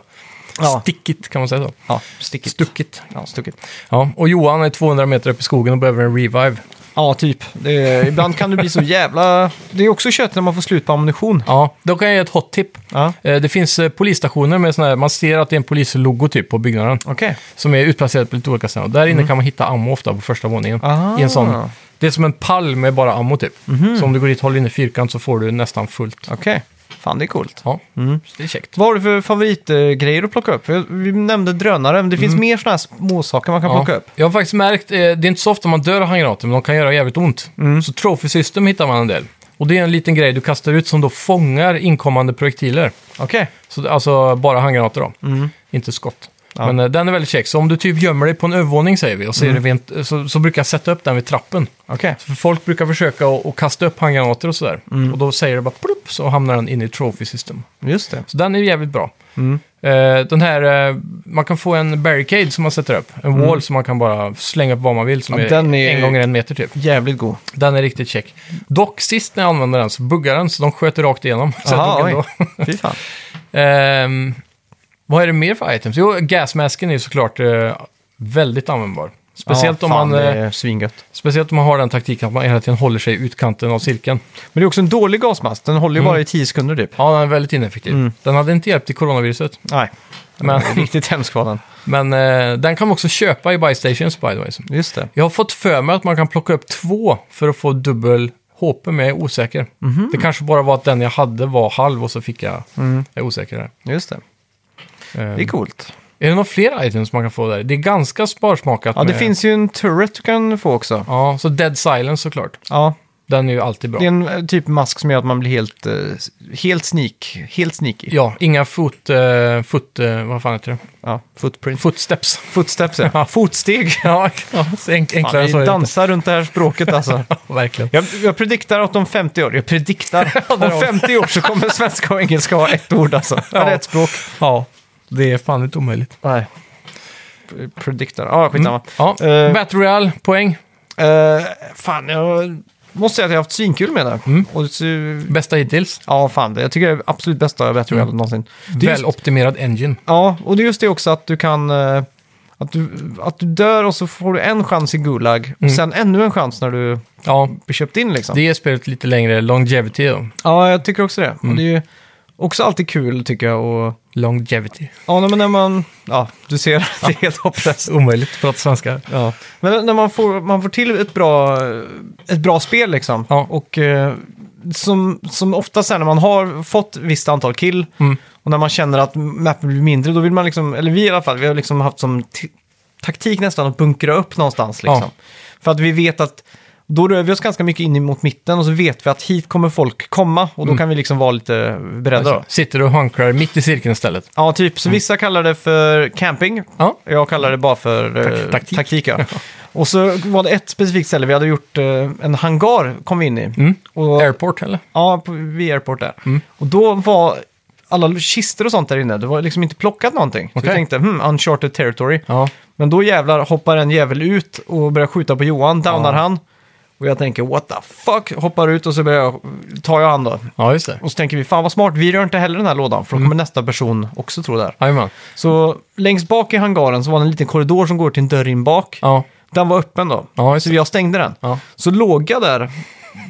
S1: Ja.
S2: Stickigt kan man säga så.
S1: Ja, stickigt.
S2: Stuckigt.
S1: ja, stuckigt.
S2: Ja, och Johan är 200 meter upp i skogen och behöver en revive.
S1: Ja, typ. Det är, ibland kan det bli så jävla... Det är också kött när man får slut på ammunition.
S2: Ja, då kan jag ge ett hot tip.
S1: Ja,
S2: Eh, Det finns eh, polisstationer med sådana här, man ser att det är en polislogo typ på byggnaden.
S1: okej.
S2: Som är utplacerad på lite olika ställen. Och där inne kan man hitta ammo ofta på första våningen.
S1: Aha.
S2: I en sån, det är som en pall med bara ammo typ. Så om du går dit och håller inne i fyrkant så får du nästan fullt.
S1: Okej. Fan, det är coolt.
S2: Ja, så det är käckt.
S1: Vad har du för favoritgrejer att plocka upp? För Vi nämnde drönare, men det
S2: Mm.
S1: finns mer sådana här småsaker man kan plocka upp.
S2: Jag har faktiskt märkt, eh, det är inte så ofta man dör av handgranater, men de kan göra jävligt ont.
S1: Mm.
S2: Så Trophy System hittar man en del. Och det är en liten grej du kastar ut som då fångar inkommande projektiler.
S1: Okej.
S2: Så, det- alltså bara handgranater då,
S1: Mm.
S2: inte skott. Men eh, den är väldigt käck. Så om du typ gömmer dig på en övervåning säger vi, och så,
S1: Mm.
S2: är det rent, eh, så, så brukar jag sätta upp den vid trappen.
S1: Okej.
S2: För folk brukar försöka att- att kasta upp handgranater och sådär.
S1: Mm.
S2: Och då säger det bara plupp, så hamnar den in i Trophy System.
S1: Just det.
S2: Så den är jävligt bra.
S1: Mm.
S2: Eh, den här, eh, man kan få en barricade som man sätter upp. En wall som man kan bara slänga upp vad man vill. Som
S1: Mm. Ja,
S2: är,
S1: den är-
S2: en gånger en meter typ.
S1: Jävligt god.
S2: Den är riktigt check. Dock sist när jag använde den så buggade den så de sköt rakt igenom. Så jag
S1: Aha,
S2: dog ändå.
S1: oj. Fy fan.
S2: Ehm, vad är det mer för items? Jo, gasmasken är ju såklart eh, väldigt användbar. Speciellt,
S1: Ja,
S2: om
S1: fan,
S2: man, eh,
S1: Det är svingött.
S2: speciellt om man har den taktiken att man hela tiden håller sig i utkanten av cirkeln.
S1: Men det är också en dålig gasmask. Den håller ju
S2: Mm.
S1: bara i 10 sekunder typ.
S2: Ja, den är väldigt ineffektiv. Den hade inte hjälpt i coronaviruset.
S1: Mm. Nej,
S2: Men,
S1: riktigt hemsk var den.
S2: men eh, den kan man också köpa i buy stations by the way.
S1: Just det.
S2: Jag har fått för mig att man kan plocka upp två för att få dubbel HP, men jag är osäker.
S1: Mhm.
S2: Det kanske bara var att den jag hade var halv och så fick jag... Jag är osäker där.
S1: Just det.
S2: Ehm,
S1: Mm. Det är coolt.
S2: Är det några fler items man kan få där? Det är ganska sparsmakat
S1: Ja, det
S2: med-
S1: finns ju en turret du kan få också.
S2: Ja, så Dead Silence såklart.
S1: Ja,
S2: Den är ju alltid bra.
S1: det är en eh, typ mask som gör att man blir helt, eh, helt sneak. Helt sneaky.
S2: Ja, inga fot... eh, fot eh, vad fan heter det?
S1: Ja, footprint.
S2: Footsteps.
S1: Footsteps, ja. Fotsteg.
S2: ja, ja, så enk- enklare
S1: Fan,
S2: än så
S1: vi
S2: är det inte.
S1: dansar runt det här språket alltså.
S2: Verkligen.
S1: Jag, jag prediktar att om 50 år, jag prediktar,
S2: där
S1: om
S2: har vi.
S1: 50 år så kommer svenska och engelska ha ett ord alltså.
S2: Ja.
S1: Ja. Ett språk.
S2: Ja, det är fan inte omöjligt.
S1: Nej. Pre- Prediktar, ja skitsamma.
S2: Ja,
S1: Eh.
S2: Battle Royale, poäng.
S1: Mm. fan, jag måste säga att jag har haft svinkul med det. Och så,
S2: Bästa hittills.
S1: ja, fan, det- jag tycker det är absolut bästa Battle Royale någonsin. Det är just-
S2: Väloptimerad engine.
S1: Ja, och det är just det också att du kan... eh, Att du, att du dör och så får du en chans i Gulag och sen ännu en chans när du
S2: Ja,
S1: blir köpt in liksom.
S2: det ger spelet lite längre longevity då.
S1: Ja, jag tycker också det. Och det är ju också alltid kul tycker jag. Och,
S2: Longevity.
S1: ja, nej, men när man... Ja, du ser, det är helt hopplöst.
S2: Omöjligt att prata svenska.
S1: Ja. Men när man får, man får till ett bra, ett bra spel liksom.
S2: Ja.
S1: Och eh, som, som ofta sen när man har fått visst antal kill
S2: Mm.
S1: och när man känner att mappen blir mindre, då vill man liksom, eller vi i alla fall, vi har liksom haft som t- taktik nästan att bunkra upp någonstans liksom.
S2: Ja.
S1: För att vi vet att då rör vi oss ganska mycket in mot mitten och så vet vi att hit kommer folk komma och då
S2: Mm.
S1: kan vi liksom vara lite beredda då.
S2: Sitter du och hunkrar mitt i cirkeln istället.
S1: Ja, typ.
S2: Mm.
S1: Så vissa kallar det för camping.
S2: Ja.
S1: Jag kallar det bara för eh,
S2: Tak- taktik.
S1: ja. Och så var det ett specifikt ställe, vi hade gjort eh, en hangar kom vi in i.
S2: Mm.
S1: Och,
S2: Airport eller?
S1: ja, på, vid airport där.
S2: Mm.
S1: Och då var alla kistor och sånt där inne, det var liksom inte plockat någonting. Så vi
S2: Okej.
S1: tänkte, hmm, uncharted territory.
S2: Ja.
S1: Men då jävlar hoppar en jävel ut och börjar skjuta på Johan, downar han. Och jag tänker, what the fuck, hoppar ut och så börjar jag, tar jag han då.
S2: Ja, just det.
S1: Och så tänker vi, fan vad smart, vi rör inte heller den här lådan,
S2: Mm.
S1: för då kommer nästa person också tro det här.
S2: Jajamän.
S1: Så längst bak i hangaren så var det en liten korridor som går till en dörr in bak.
S2: Ja.
S1: Den var öppen då,
S2: Ja, just
S1: så jag stängde den.
S2: Ja.
S1: Så låg jag där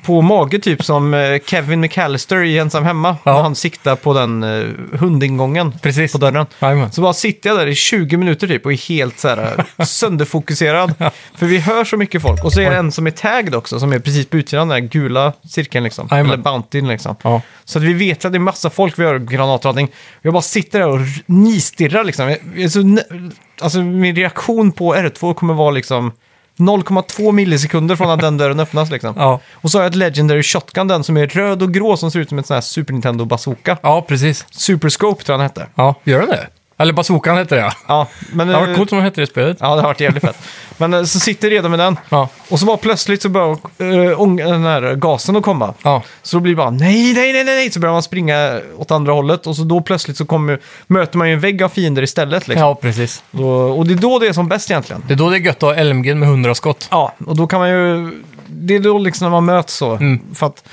S1: på mage typ som eh, Kevin McAllister i Ensam Hemma.
S2: Ja.
S1: När han siktar på den eh, hundingången
S2: Precis.
S1: på dörren.
S2: Jajamän.
S1: Så bara sitter jag där i 20 minuter typ och är helt så här eh, sönderfokuserad. För vi hör så mycket folk. Och så är det en som är tagged också, som är precis på utsidan, den där gula cirkeln liksom.
S2: Jajamän.
S1: Eller bountyn liksom.
S2: Ja.
S1: Så att vi vet att det är massa folk, vi har granatradning. Jag bara sitter där och r- nistirrar liksom. Jag- jag är så nö- Alltså min reaktion på R2 kommer vara liksom 0,2 millisekunder från att den dörren öppnas liksom.
S2: Ja.
S1: Och så har jag ett Legendary Shotgun, den som är röd och grå som ser ut som en sån här Super Nintendo bazooka.
S2: Ja, precis.
S1: Super Scope tror jag den hette.
S2: Ja, gör den det? Eller Bazookan hette det ja.
S1: Ja, men,
S2: Det hade varit
S1: eh,
S2: coolt om de hette det i spelet.
S1: Ja, det har varit jävligt fett. Men eh, så sitter redan med den.
S2: Ja.
S1: Och så bara plötsligt så börjar eh, ång- den här gasen att komma.
S2: Ja.
S1: Så då blir det bara nej, nej, nej, nej, nej. Så börjar man springa åt andra hållet. Och så då plötsligt så kommer, möter man ju en vägg av fiender istället. Liksom.
S2: ja, precis.
S1: Då, och det är då det är som bäst egentligen.
S2: Det är då det är gött att ha LMG med 100 skott.
S1: Ja, och då kan man ju... Det är då liksom när man möts så.
S2: Mm.
S1: För att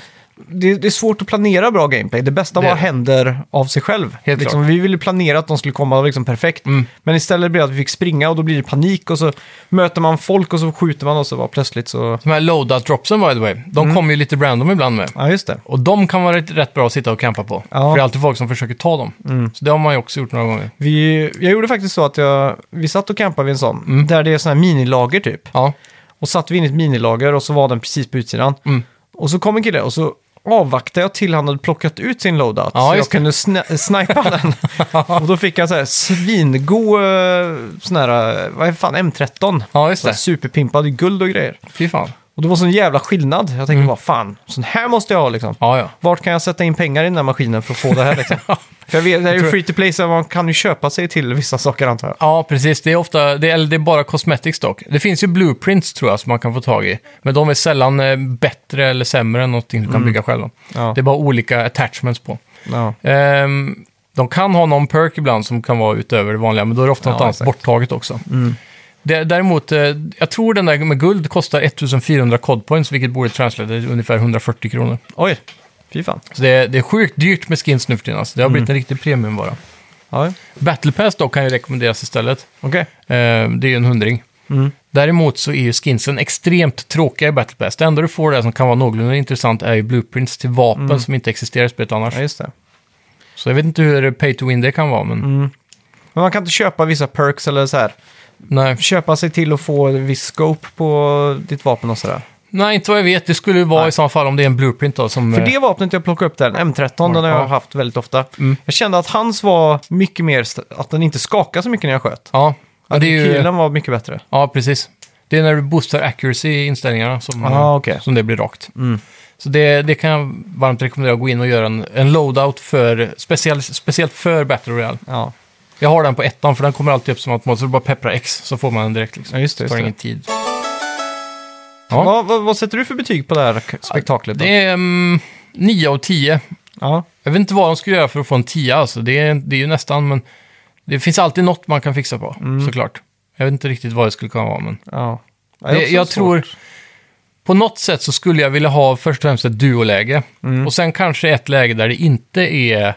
S1: det, det är svårt att planera bra gameplay. Det bästa
S2: Det är
S1: bara
S2: det.
S1: händer av sig själv.
S2: Helt Mm.
S1: liksom, vi ville ju planera att de skulle komma liksom perfekt. Men istället blir det att vi fick springa och då blir det panik och så möter man folk och så skjuter man och så bara plötsligt så...
S2: De här loadout-dropsen by the way, de
S1: Mm.
S2: kommer ju lite random ibland med.
S1: Ja, just det.
S2: Och de kan vara rätt- rätt bra att sitta och campa på.
S1: Ja.
S2: För det är alltid folk som försöker ta dem. Så det har man ju också gjort några gånger.
S1: Vi, jag gjorde faktiskt så att jag, vi satt och campade vid en sån,
S2: Mm.
S1: där det är sådana här minilager typ.
S2: Ja,
S1: Och satt vi in i ett minilager och så var den precis på utsidan.
S2: Mm.
S1: Och så kom en kille och så avvaktade jag till han hade plockat ut sin loadout.
S2: Ja,
S1: så jag
S2: just det.
S1: kunde sna- snipa den. och då fick jag så här svingod eh, sån här, eh, vad är fan, M13.
S2: ja just
S1: Så här
S2: det.
S1: superpimpad i guld och grejer.
S2: Fy fan.
S1: Och det var sån jävla skillnad. Jag tänkte
S2: Mm.
S1: bara fan, sån här måste jag ha liksom.
S2: Ja, ja.
S1: Vart kan jag sätta in pengar i den här maskinen för att få det här liksom? för jag vet, det här är ju free to play så man kan ju köpa sig till vissa saker antar jag.
S2: Ja, precis. Det är ofta, det är, eller det är bara cosmetics dock. Det finns ju blueprints tror jag som man kan få tag i. Men de är sällan eh, bättre eller sämre än någonting du kan bygga själv.
S1: Ja.
S2: Det är bara olika attachments på.
S1: Ja.
S2: Ehm, de kan ha någon perk ibland som kan vara utöver det vanliga, men då är det ofta något
S1: Ja,
S2: annat
S1: exakt. Mm.
S2: borttaget också. Det, däremot, eh, jag tror den där med guld kostar 1400 codpoints, vilket borde translate till ungefär 140 kronor.
S1: Oj, fy fan.
S2: Så det, är- det är sjukt dyrt med skins nu för tiden. Alltså. Det har
S1: Mm.
S2: blivit en riktig premiumvara.
S1: Ja, okej.
S2: Battle Pass dock kan ju rekommenderas istället. Eh, det är ju en hundring.
S1: Mm.
S2: Däremot så är ju skinsen extremt tråkiga i Battle Pass. Det enda du får där som kan vara någorlunda intressant är ju blueprints till vapen som inte existerar i spelet annars.
S1: Mm. Ja, just det.
S2: Så jag vet inte hur pay to win det kan vara, men
S1: Mm. Men man kan inte köpa vissa perks eller så här.
S2: nej.
S1: Köpa sig till att få en viss scope på ditt vapen och sådär.
S2: nej, inte vad jag vet. Det skulle ju vara
S1: Nej.
S2: i så fall om det är en blueprint då som...
S1: För
S2: eh,
S1: det vapnet jag plockade upp där, en M13, den har
S2: Ja. Mm.
S1: jag haft väldigt ofta. Jag kände att hans var mycket mer, st- att den inte skakade så mycket när jag sköt.
S2: Ja, ja,
S1: Att
S2: det är ju,
S1: Rekylen var mycket bättre.
S2: ja, precis. Det är när du boostar accuracy i inställningarna som, eh,
S1: Ah, okej. Mm.
S2: som det blir rakt. Så det, det kan jag varmt rekommendera att gå in och göra en, en loadout för, speciellt, speciellt för Battle Royale.
S1: Ja,
S2: Jag har den på ettan för den kommer alltid upp som automat, så du bara pepprar X så får man den direkt. Liksom.
S1: ja just det.
S2: det
S1: Just
S2: tar
S1: det.
S2: ingen tid.
S1: Ja. Vad, vad, vad sätter du för betyg på det här k- spektaklet? Då?
S2: Det är mm, 9 av 10.
S1: Ja,
S2: Jag vet inte vad de skulle göra för att få en 10 alltså. Det är, det är ju nästan, men det finns alltid något man kan fixa på,
S1: Mm.
S2: såklart. Jag vet inte riktigt vad det skulle kunna vara, men
S1: ja. Ja, det är
S2: det,
S1: också
S2: jag
S1: svårt.
S2: tror... På något sätt så skulle jag vilja ha först och främst ett duoläge.
S1: Mm.
S2: Och sen kanske ett läge där det inte är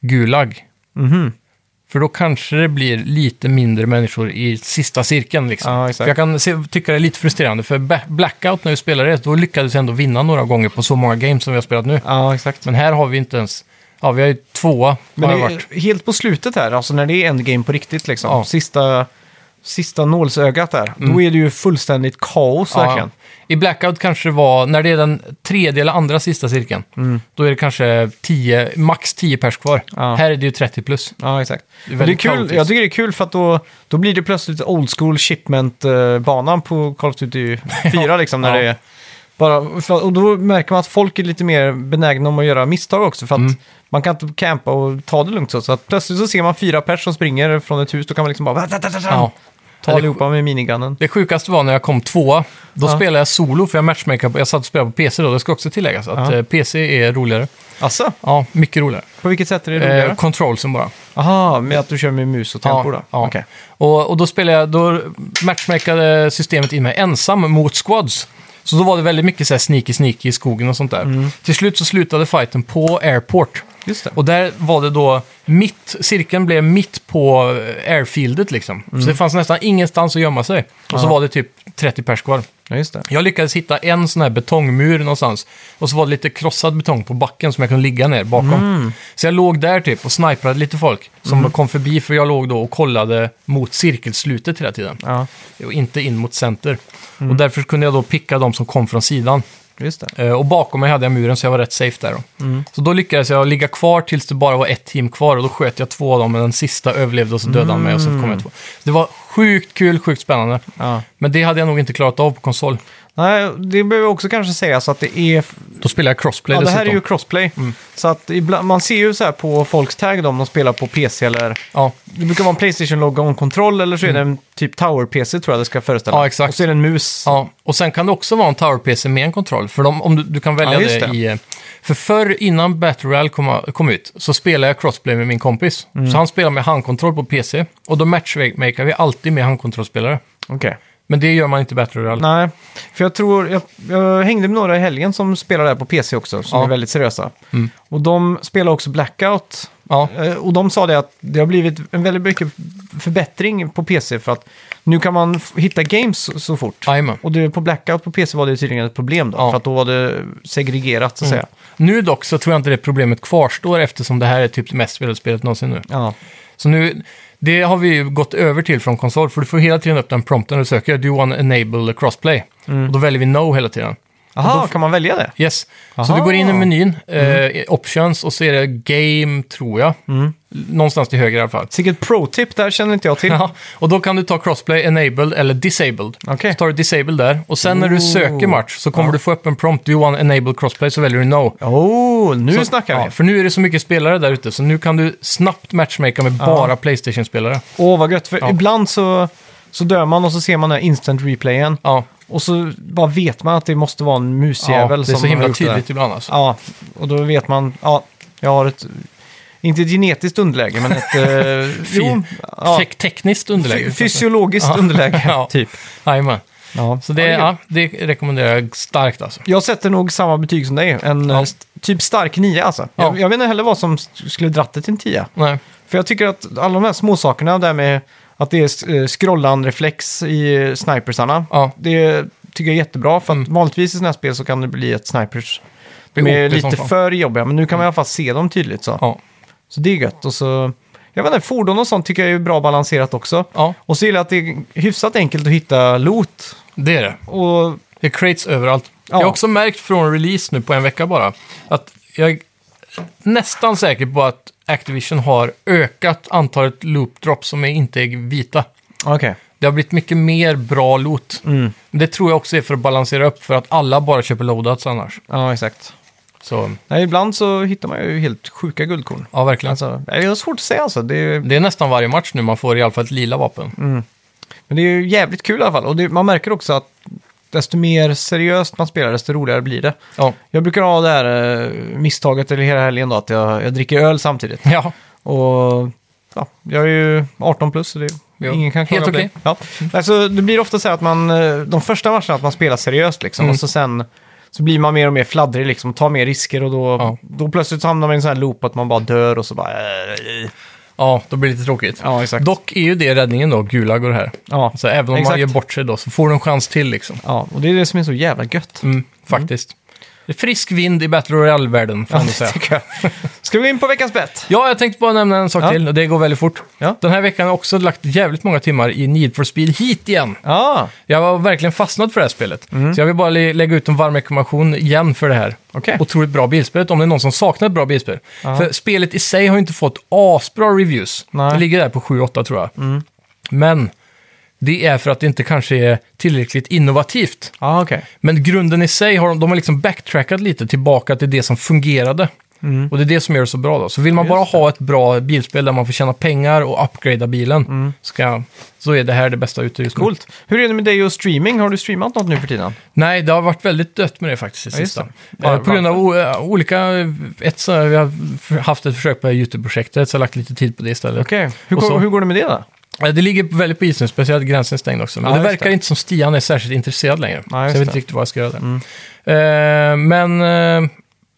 S2: Gulag.
S1: Mhm.
S2: För då kanske det blir lite mindre människor i sista cirkeln. Liksom.
S1: Ja, exakt.
S2: För jag kan se, tycka det är lite frustrerande, för Ba- Blackout när vi spelade det, då lyckades jag ändå vinna några gånger på så många games som vi har spelat nu.
S1: Ja, exakt.
S2: Men här har vi inte ens... Ja, vi har ju tvåa.
S1: Men
S2: har jag
S1: det
S2: varit.
S1: är helt på slutet här, alltså när det är endgame på riktigt, liksom.
S2: Ja. Mm.
S1: sista, sista nålsögat där, då är det ju fullständigt kaos verkligen.
S2: I Blackout kanske det var, när det är den tredje eller andra sista cirkeln, då är det kanske 10, max 10 pers kvar.
S1: Mm. Ja.
S2: Här är det ju 30 plus.
S1: Ja, exakt.
S2: Det är
S1: Men Det är
S2: väldigt
S1: kul,
S2: kaotiskt.
S1: jag tycker det är kul för att då, då blir det plötsligt old school shipment-banan på Call of Duty 4. liksom, när
S2: Ja.
S1: det är bara, för- och då märker man att folk är lite mer benägna om att göra misstag också. För
S2: Mm.
S1: att man kan inte campa och ta det lugnt. Så, så att plötsligt så ser man fyra pers som springer från ett hus. Då kan man liksom bara
S2: Ja.
S1: ta
S2: Eller-
S1: allihopa med minigunnen.
S2: Det sjukaste var när jag kom tvåa. Då spelade jag solo, för jag matchmaker på, jag satt och spelade på PC då. Det ska också tilläggas att
S1: Ja.
S2: eh, PC är roligare.
S1: Alltså,
S2: Ja, mycket roligare.
S1: på vilket sätt är det
S2: Eh,
S1: roligare?
S2: controlsen bara.
S1: Aha, med att du kör med mus och tempo då?
S2: ja.
S1: Okej.
S2: Och, och då spelade jag, då matchmakade systemet in mig ensam mot squads. Så då var det väldigt mycket så här sneaky sneaky i skogen och sånt där. Till slut så slutade fighten på airport.
S1: Just det.
S2: Och där var det då mitt, cirkeln blev mitt på airfieldet liksom. Så det fanns nästan ingenstans att gömma sig. Och så var det typ 30 pers kvar.
S1: Ja, just det.
S2: Jag lyckades hitta en sån här betongmur någonstans. Och så var det lite krossad betong på backen som jag kunde ligga ner bakom. Så jag låg där typ och sniprade lite folk som kom förbi. För jag låg då och kollade mot cirkelslutet hela tiden.
S1: Ja,
S2: Och inte in mot center. Och därför kunde jag då picka de som kom från sidan.
S1: just det.
S2: Eh, Och bakom mig hade jag muren så jag var rätt safe där. Då. Så då lyckades jag ligga kvar tills det bara var ett team kvar och då sköt jag två av dem men den sista överlevde och så dödade han mig och så kom jag två. Det var sjukt kul, sjukt spännande.
S1: Ja.
S2: Men det hade jag nog inte klarat av på konsol.
S1: Nej, det behöver också kanske sägas att det är...
S2: Då spelar jag crossplay
S1: Ja, det
S2: dessutom. Mm.
S1: här är ju crossplay. Så att ibland, man ser ju så här på folks tag då, om de spelar på PC eller...
S2: ja.
S1: Det brukar vara en Playstation Logon-kontroll eller så är det en typ Tower-PC tror jag det ska föreställa.
S2: Mm. Ja, exakt.
S1: Och så är det en mus.
S2: Ja, och sen kan det också vara en Tower-PC med en kontroll. För de, om du, du kan välja
S1: Ja, just
S2: det,
S1: det.
S2: i... eh, För förr, innan Battle Royale kom, kom ut, så spelade jag crossplay med min kompis.
S1: Mm.
S2: Så han spelar med handkontroll på PC. Och då matchmaker vi alltid med handkontrollspelare.
S1: Okej.
S2: Men det gör man inte i Battle Royale.
S1: Nej, för jag tror... Jag, jag hängde med några i helgen som spelar där på PC också, som
S2: Ja.
S1: är
S2: Mm.
S1: väldigt seriösa. Och de spelar också Blackout.
S2: Ja,
S1: Eh, Och de sa det att det har blivit en väldigt mycket förbättring på PC för att nu kan man f- hitta games så- så fort.
S2: jajamän.
S1: Och det, på Blackout på PC var det tydligen ett problem då,
S2: Ja. Mm.
S1: för att då var det segregerat så att säga.
S2: Nu dock så tror jag inte det problemet kvarstår eftersom det här är typ det mest spelade spelet någonsin nu.
S1: Ja.
S2: Så nu, det har vi ju gått över till från konsol, för du får hela tiden upp den prompten när du söker. Do you want to enable crossplay?
S1: Mm.
S2: Och då väljer vi no hela tiden.
S1: Aha, kan man välja det?
S2: Yes. Så
S1: Aha. Mhm.
S2: du går in i menyn, eh, options, och så är det game, tror jag.
S1: Mm.
S2: Någonstans till höger i alla fall.
S1: Sicket pro-tip där känner inte jag till.
S2: Ja, och då kan du ta crossplay enabled eller disabled.
S1: Okej.
S2: Så tar du disabled där, och sen när du söker match så kommer du få upp en prompt. Do you want to enable crossplay? Så väljer du no.
S1: Oh, nu
S2: Så-
S1: snackar
S2: ja,
S1: vi.
S2: För nu är det så mycket spelare där ute, så nu kan du snabbt matchmaka med bara Playstation-spelare.
S1: Åh, vad gött. För ibland så, så dör man och så ser man den här instant replayen.
S2: Ja,
S1: Och så bara vet man att det måste vara en
S2: ja det
S1: musjävel
S2: är
S1: som
S2: så
S1: har
S2: himla
S1: gjort det där.
S2: tydligt ibland alltså.
S1: Ja, och då vet man, ja, jag har ett, inte ett genetiskt underläge, men ett... Eh, jo, ja,
S2: Tek- tekniskt underläge.
S1: fy- fysiologiskt underläge,
S2: Ja.
S1: typ.
S2: Jajamän.
S1: Ja.
S2: Så det, ja, det rekommenderar jag starkt alltså.
S1: Jag sätter nog samma betyg som dig, en
S2: Ja.
S1: eh, st- typ stark nia alltså.
S2: Ja.
S1: Jag, jag vet inte heller vad som st- skulle dratt det till en tia.
S2: Nej.
S1: För jag tycker att alla de här småsakerna, där med att det är eh, scrollan-reflex i eh, snipersarna,
S2: Ja.
S1: det tycker jag är jättebra. För att
S2: Mm.
S1: vanligtvis i sådana här spel så kan det bli ett snipers...
S2: Det är
S1: De är
S2: OP som
S1: lite
S2: fan.
S1: för jobbiga, men nu kan man i alla fall se dem tydligt så.
S2: Mm. Ja.
S1: Så det är gött. Och så, jag vet inte, fordon och sånt tycker jag är bra balanserat också.
S2: ja,
S1: Och så gillar jag att det är hyfsat enkelt att hitta loot.
S2: det är det.
S1: Och
S2: Det är crates överallt.
S1: Ja.
S2: Jag har också märkt från release nu på en vecka bara att jag är nästan säker på att Activision har ökat antalet loop drops som är inte är vita.
S1: okay.
S2: Det har blivit mycket mer bra loot.
S1: Mm.
S2: Men det tror jag också är för att balansera upp för att alla bara köper loadouts annars.
S1: ja, exakt.
S2: Så
S1: Nej, ibland så hittar man ju helt sjuka guldkorn.
S2: ja, verkligen.
S1: Alltså, det är svårt att säga alltså. Det är,
S2: Det är nästan varje match nu man får i alla fall ett lila vapen.
S1: Mm. men det är ju jävligt kul i alla fall. Och det, man märker också att desto mer seriöst man spelar, desto roligare blir det.
S2: Ja.
S1: Jag brukar ha det här eh, misstaget, eller hela helgen då, att jag, jag dricker öl samtidigt.
S2: ja.
S1: Och ja, jag är ju 18 plus, så det,
S2: Ja.
S1: ingen kan klaga
S2: Helt
S1: på det.
S2: okej. Mm.
S1: Ja. Alltså, det blir ofta så här att man, eh, de första matcherna att man spelar seriöst liksom,
S2: Mm.
S1: och så sen så blir man mer och mer fladdrig liksom, tar mer risker och då,
S2: Ja.
S1: då plötsligt så hamnar man i en sån här loop att man bara dör och så bara... eh,
S2: ja, då blir det lite tråkigt.
S1: Ja, exakt.
S2: Dock är ju det räddningen då, Gulag och det här.
S1: Ja.
S2: Så även om
S1: Exakt.
S2: man gör bort sig då så får du en chans till liksom.
S1: ja, och det är det som är så jävla gött.
S2: Mm, faktiskt. Det är frisk vind i Battle Royale-världen, får man
S1: det
S2: säga.
S1: tycker jag. Ska vi gå in på veckans bett?
S2: Ja, jag tänkte bara nämna en sak
S1: Ja.
S2: till, och det går väldigt fort.
S1: Ja.
S2: Den här veckan har jag också lagt jävligt många timmar i Need for Speed Heat igen.
S1: Ja,
S2: Jag var verkligen fastnad för det här spelet. Så jag vill bara lä- lägga ut en varm rekommendation igen för det här.
S1: Mm. Okej.
S2: Otroligt bra bilspel, om det är någon som saknar ett bra bilspel. För spelet i sig har ju inte fått asbra reviews.
S1: Nej. Mm.
S2: Det ligger där på 7-8 tror jag. Men det är för att det inte kanske är tillräckligt innovativt.
S1: ja okej.
S2: Men grunden i sig har de, de har liksom backtrackat lite tillbaka till det som fungerade. Och det är det som gör det så bra då. Så vill man
S1: Mm. Just
S2: bara ha ett bra bilspel där man får tjäna pengar och upgrada bilen,
S1: Mm.
S2: ska, så är det här det bästa ute just nu.
S1: Coolt. Hur är det med dig och streaming? Har du streamat något nu för tiden?
S2: Nej, det har varit väldigt dött med det faktiskt i
S1: Ja, just
S2: sista.
S1: det. Var-
S2: Eh, på grund av o- eh, olika... eh, Ett, så, vi har f- haft ett försök på YouTube-projektet, så jag har lagt lite tid på det istället.
S1: Okej. Hur,
S2: Och
S1: går-
S2: så-
S1: hur går det med det då?
S2: Eh, Det ligger väldigt på is nu, speciellt gränsen stängd också. Men
S1: Ja,
S2: det
S1: just
S2: verkar
S1: det.
S2: inte som Stian är särskilt intresserad längre.
S1: Ja, just
S2: så jag vet
S1: det. Mm.
S2: inte riktigt vad jag ska göra där. Eh, men eh,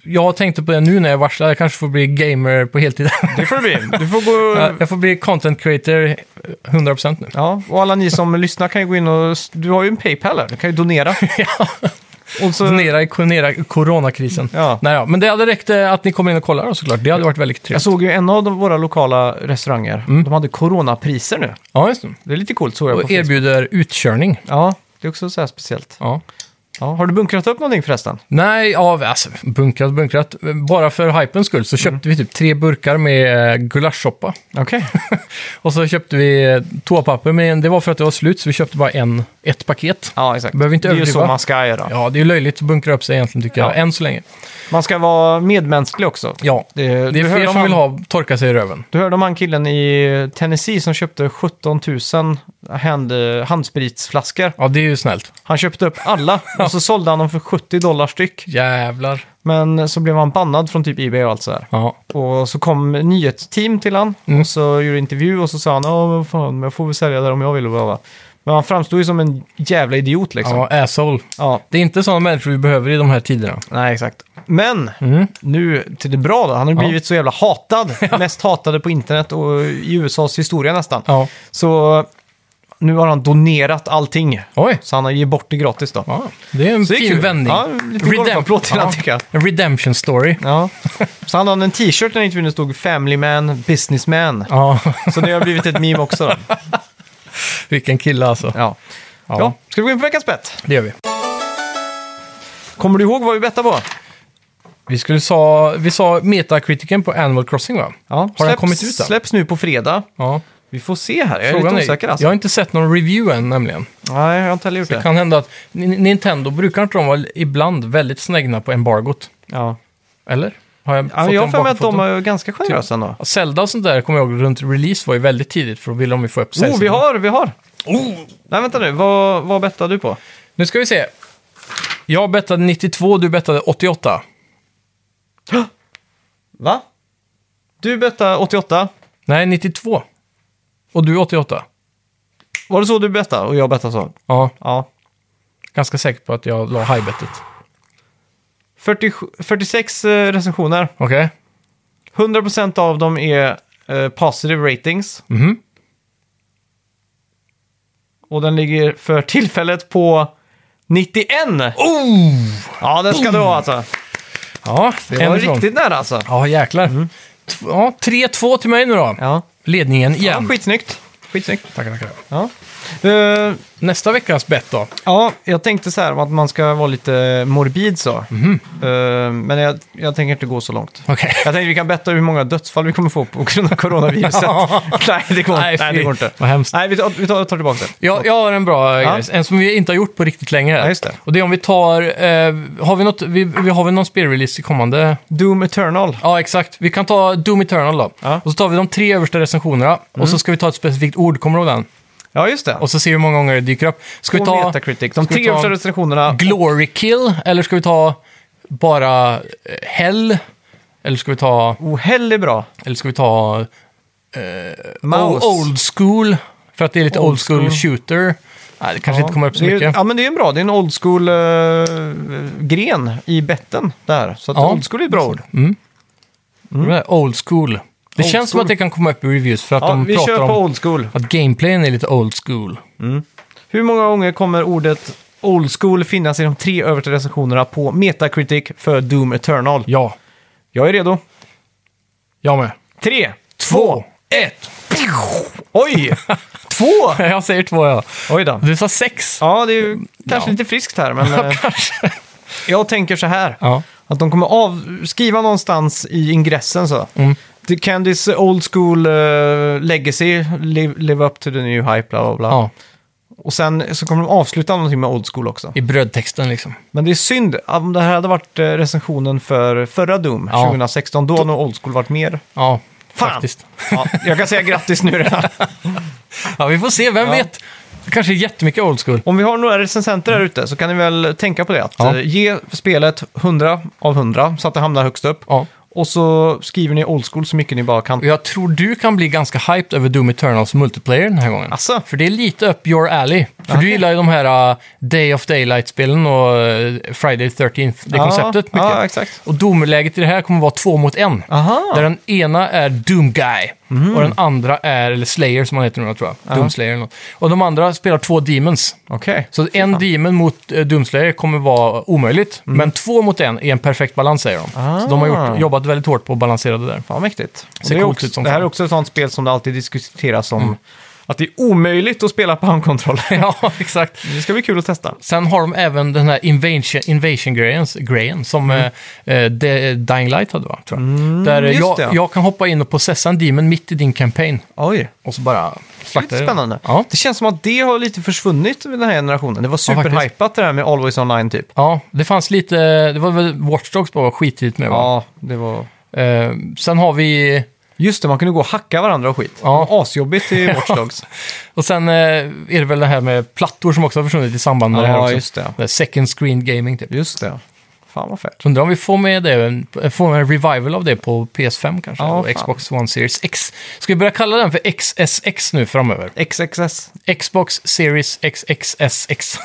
S2: jag tänkte på det nu när jag varslar. Jag kanske får bli gamer på heltid.
S1: Det får det bli. Du får gå...
S2: jag jag får bli content creator 100% nu.
S1: Ja, och alla ni som lyssnar kan ju gå in och... Du har ju en Paypal här, du kan ju donera. Och så,
S2: Donera i konera- coronakrisen.
S1: Ja.
S2: Naja, men det hade räckt eh, att ni kommer in och kollar då, såklart. Det hade varit väldigt
S1: jag
S2: trevligt.
S1: såg ju en av de, våra lokala restauranger, de hade coronapriser nu.
S2: Ja, just det.
S1: Det är lite coolt, såg jag på
S2: Mm. Och
S1: Facebook.
S2: erbjuder utkörning.
S1: Ja, det är också så här speciellt.
S2: Ja.
S1: Ja, har du bunkrat upp någonting förresten?
S2: Nej, ja, alltså bunkrat, bunkrat. Bara för hypens skull så köpte vi typ tre burkar med eh, gulaschsoppa.
S1: Okej.
S2: Och så köpte vi eh, toapapper, men det var för att det var slut så vi köpte bara en, ett paket.
S1: Ja, exakt.
S2: Behöver inte
S1: det är ju så
S2: överdriva.
S1: man ska göra.
S2: Ja, det är ju löjligt att bunkra upp sig egentligen tycker jag,
S1: Ja.
S2: än så länge.
S1: Man ska vara medmänsklig också.
S2: Ja,
S1: Det,
S2: det är
S1: du,
S2: fler
S1: hörde om
S2: som vill
S1: han,
S2: ha torka sig i röven.
S1: du hörde om han killen i Tennessee som köpte 17 000 hand, handspritsflaskor.
S2: Ja, det är ju snällt.
S1: Han köpte upp alla och så sålde han dem för 70 dollar styck.
S2: Jävlar.
S1: Men så blev han bannad från typ Ebay och allt sådär.
S2: Ja,
S1: Och så kom nyhetsteam till han och så gjorde intervju och så sa han ja men fan, men jag får väl sälja där om jag vill och bla, bla. Men han framstod ju som en jävla idiot liksom. Ja,
S2: ja asshole. Det är inte sådana människor vi behöver i de här tiderna.
S1: nej exakt. Men nu till det bra då. Han har blivit så jävla hatad. Mest hatade på internet och i USAs historia nästan.
S2: Ja.
S1: Så nu har han donerat allting.
S2: Oj.
S1: Så han har gett bort det gratis då.
S2: Ja, det är en
S1: Så det är
S2: fin
S1: kul.
S2: vändning.
S1: Ja, en liten golfapplåd till han, tycker jag.
S2: En redemption story.
S1: Ja. Så han hade en t-shirt när intervjun det stod Family Man, Businessman.
S2: Ja,
S1: Så det har blivit ett meme också då.
S2: vilken kille alltså.
S1: Ja.
S2: Ja.
S1: ja, ska vi gå in på veckans bett?
S2: Det gör vi.
S1: Kommer du ihåg vad vi bettade på?
S2: Vi, skulle sa, vi sa Metacriticen på Animal Crossing va?
S1: Ja,
S2: Har den
S1: släpps-
S2: kommit ut än?
S1: Släpps nu på fredag.
S2: Ja.
S1: Vi får se här, jag är lite osäker alltså.
S2: Jag har inte sett någon review än nämligen.
S1: Nej, jag har inte heller gjort
S2: Det
S1: det.
S2: kan hända att Ni- Nintendo brukar inte de vara ibland väldigt snägna på embargot.
S1: Ja.
S2: Eller? Har jag
S1: Ja,
S2: fått
S1: jag
S2: en
S1: har för mig att de
S2: bakfoten?
S1: är ganska generösa ändå.
S2: Ja, Zelda och sånt där kommer jag ihåg runt release var ju väldigt tidigt för då ville de ju få upp
S1: Oh, vi
S2: säljsidan.
S1: har, vi har!
S2: Oh!
S1: Nej, vänta nu, vad, vad bettade du på?
S2: Nu ska vi se. Jag bettade 92, du bettade 88.
S1: Va? Du bettade 88.
S2: Nej, 92. Och du 88.
S1: Var det så du bettade och jag bettade så?
S2: Ja,
S1: Ja.
S2: ganska säker på att jag la highbettet.
S1: 47, 46 eh, recensioner.
S2: Okej?
S1: 100% av dem är eh, positive ratings.
S2: Mhm.
S1: Och den ligger för tillfället på 91! Ja, den ska du ha alltså.
S2: Ja,
S1: Oh! Det var riktigt nära alltså.
S2: Ja, jäklar. Tv- Ja, 3-2 till mig nu då.
S1: Ja,
S2: Ledningen igen.
S1: ja skitsnyggt. Skitsnyggt.
S2: tackar, tackar.
S1: Ja. Eh,
S2: Nästa veckas bett då?
S1: ja, jag tänkte så här om att man ska vara lite morbid så. Eh, men jag, jag tänker inte gå så långt.
S2: Okej.
S1: Jag tänkte vi kan betta hur många dödsfall vi kommer få på grund av coronaviruset. nej, det går,
S2: Nej,
S1: nej, nej, det
S2: fy.
S1: går inte.
S2: Vad hemskt.
S1: Nej, vi tar, vi tar, tar tillbaka det.
S2: Jag, jag har en bra
S1: Ja.
S2: grej, en som vi inte har gjort på riktigt länge.
S1: Ja, just det.
S2: Och det är om vi tar, eh, har vi något, vi, vi har väl någon spelrelease i kommande?
S1: Doom Eternal.
S2: Ja, exakt. Vi kan ta Doom Eternal då.
S1: Ja. Mm.
S2: Och så tar vi de tre översta recensionerna och så ska vi ta ett specifikt ord, kommer du ihåg den?
S1: Ja, just det.
S2: Och så ser vi hur många gånger det dyker upp. Ska vi
S1: på
S2: ta
S1: Metacritic. De
S2: ska vi
S1: tre
S2: ta-
S1: första recensionerna.
S2: Glory Kill eller ska vi ta bara eh, Hell? Eller ska vi ta,
S1: Oh, hell är bra.
S2: eller ska vi ta
S1: Mouse.
S2: Old School? För att det är lite old,
S1: Old
S2: school,
S1: school.
S2: shooter. Nej, det kanske inte kommer upp så
S1: det är,
S2: mycket.
S1: ja, men det är en bra. Det är en old school eh, gren i betten där. Så att
S2: Ja.
S1: old school är ett bra ord.
S2: Det där, Mm. Old school. Det
S1: Mm. Old
S2: känns som
S1: school.
S2: att det kan komma upp i reviews för att
S1: Ja,
S2: de
S1: vi
S2: pratar
S1: kör på
S2: om
S1: old school.
S2: att gameplayen är lite old school.
S1: Hur många gånger kommer ordet old school finnas i de tre översta recensionerna på Metacritic för Doom Eternal?
S2: Ja,
S1: Jag är redo.
S2: jag med.
S1: Tre,
S2: Två,
S1: två,
S2: ett.
S1: oj! två!
S2: jag säger två ja.
S1: Oj då.
S2: Du sa sex.
S1: Ja, det är ju kanske
S2: Ja.
S1: lite friskt här, men eh,
S2: Kanske.
S1: jag tänker så här.
S2: Ja.
S1: Att de kommer av, skriva någonstans i ingressen så.
S2: Mm.
S1: The Candies old school eh, legacy, live, live up to the new hype, bla bla bla.
S2: ja,
S1: Och sen så kommer de avsluta någonting med old school också.
S2: i brödtexten liksom.
S1: Men det är synd, om det här hade varit eh, recensionen för förra Doom,
S2: Ja.
S1: 2016, då har nog old school varit mer.
S2: Ja,
S1: Fan.
S2: faktiskt.
S1: Ja, jag kan säga grattis nu redan.
S2: Ja, vi får se, vem
S1: Ja.
S2: vet. Det kanske är jättemycket old school.
S1: Om vi har några recensenter där ute så kan ni väl tänka på det. Att
S2: Ja.
S1: eh, ge spelet 100 av 100 så att det hamnar högst upp.
S2: Ja.
S1: Och så skriver ni old school så mycket ni bara kan.
S2: Och Jag tror du kan bli ganska hyped över Doom Eternals multiplayer den här gången.
S1: Asså?
S2: För det är lite up your alley. För du gillar ju de här uh, Day of Daylight-spelen och uh, Friday 13th, det konceptet mycket.
S1: Ja, exakt.
S2: Och domläget i det här kommer vara två mot en.
S1: Aha. Mhm.
S2: Där den ena är Doom Guy och den andra är, eller Slayer som han heter nu tror jag, Doom Slayer eller något. Och de andra spelar två Demons.
S1: Okej.
S2: Så en demon mot eh, Doom Slayer kommer vara omöjligt,
S1: Mm.
S2: men två mot en är en perfekt balans säger de. Så de har
S1: Ah.
S2: gjort, jobbat väldigt hårt på att balansera det där.
S1: Fan vad mäktigt. Och
S2: Ser
S1: det, är
S2: coolt
S1: också,
S2: ut som
S1: det här
S2: fan. Mm.
S1: är också ett sånt spel som det alltid diskuteras om. Att det är omöjligt att spela på handkontroll.
S2: ja, exakt.
S1: Det ska bli kul att testa.
S2: Sen har de även den här invasion, invasion grejen, grejen som eh, eh, de- Dying Light hade, va? Tror jag. Där eh,
S1: Mm. just
S2: jag,
S1: det.
S2: jag kan hoppa in och possessa en demon mitt i din campaign
S1: Oj,
S2: och så bara slakta
S1: lite
S2: dig.
S1: spännande.
S2: Ja.
S1: Det känns som att det har lite försvunnit med den här generationen. Det var
S2: faktiskt.
S1: superhypat det här med Always Online typ.
S2: ja, det fanns lite, det var väl Watch Dogs bara var skittigt med va?
S1: Ja, det var...
S2: Eh, sen har vi
S1: Just det, man kunde gå och hacka varandra och skit.
S2: Ja.
S1: Det var Asjobbigt i Watch Dogs.
S2: Och sen eh, är det väl det här med plattor som också har försvunnit i samband med det här
S1: Ja,
S2: också.
S1: just det.
S2: här Second screen gaming typ.
S1: Just det. Fan vad fett.
S2: Så undrar om vi får med det, får en revival av det på PS5 kanske,
S1: Ja,
S2: och
S1: fan.
S2: Xbox One Series X. Ska vi börja kalla den för XSX nu framöver?
S1: XXS.
S2: Xbox Series XXSX.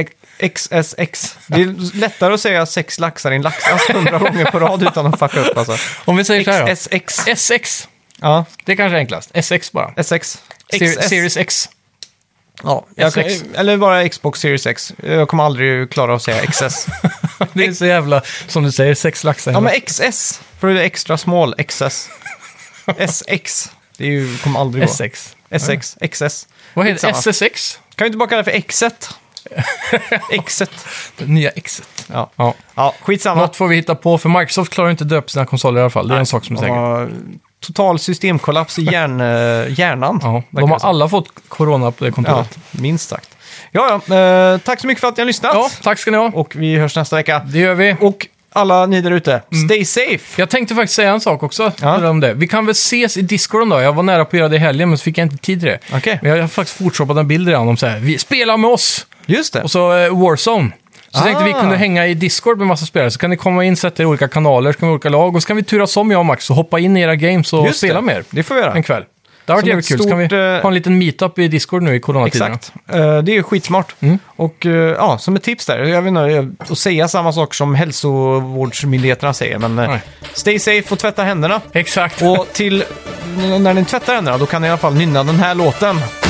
S1: XX. XSX. Det är lättare att säga sex laxar i en laxask hundra gånger på rad utan att fucka upp alltså.
S2: Om vi säger så här då.
S1: XSX.
S2: SX.
S1: Ja,
S2: Det är kanske är enklast. SX bara.
S1: SX.
S2: Ser-
S1: XS.
S2: Series X.
S1: Ja, jag kan,
S2: SX.
S1: eller bara Xbox Series X. Jag kommer aldrig klara att säga XS.
S2: Det är så jävla, som du säger, sex laxar.
S1: Ja, men XS. För det är extra small XS. SX. Det är ju, kommer aldrig gå.
S2: SX.
S1: SX. XS.
S2: Vad heter
S1: Skitsamma.
S2: SSX?
S1: Kan vi inte bara kalla det för Xet? Xet.
S2: Det nya Xet.
S1: Ja.
S2: Ja.
S1: ja, skitsamma.
S2: Något får vi hitta på, för Microsoft klarar ju inte döpa sina konsoler i alla fall. Det är en sak som är säker.
S1: Ja, total systemkollaps i hjärn, eh, hjärnan.
S2: Ja,
S1: verkar
S2: de har
S1: det som.
S2: alla fått corona på det
S1: Ja,
S2: kontoret.
S1: minst sagt. Ja, ja. Eh, tack så mycket för att ni har lyssnat.
S2: Ja. tack ska ni ha.
S1: Och vi hörs nästa vecka.
S2: Det gör vi.
S1: Och alla ni där ute,
S2: Mm.
S1: stay safe!
S2: Jag tänkte faktiskt säga en sak också.
S1: Ja.
S2: Om det. Vi kan väl ses i Discord då. Jag var nära på att göra det i helgen, men så fick jag inte tid till det.
S1: Okej.
S2: Men jag har faktiskt photoshopat en bild redan om så här, vi spelar med oss!
S1: Just det.
S2: Och så eh, Warzone. Så
S1: Ah.
S2: tänkte vi kunde hänga i Discord med massa spelare, så kan ni komma in, sätta er i olika kanaler, så kan vi olika lag, och så kan vi turas om jag och Max och hoppa in i era games och
S1: Just
S2: spela
S1: det.
S2: med er
S1: Det får vi göra.
S2: en kväll. Det har varit
S1: Som
S2: jävligt
S1: ett
S2: kul, så kan vi
S1: stort, eh,
S2: ha en liten meetup i Discord nu i Mm. coronatiderna.
S1: Exakt. Eh, det är ju skitsmart. Och eh, ja, som ett tips där, jag vet inte, att säga samma saker som hälsovårdsmyndigheterna säger, men eh,
S2: Nej.
S1: stay safe och tvätta händerna.
S2: Exakt.
S1: Och till, när ni tvättar händerna, då kan ni i alla fall nynna den här låten.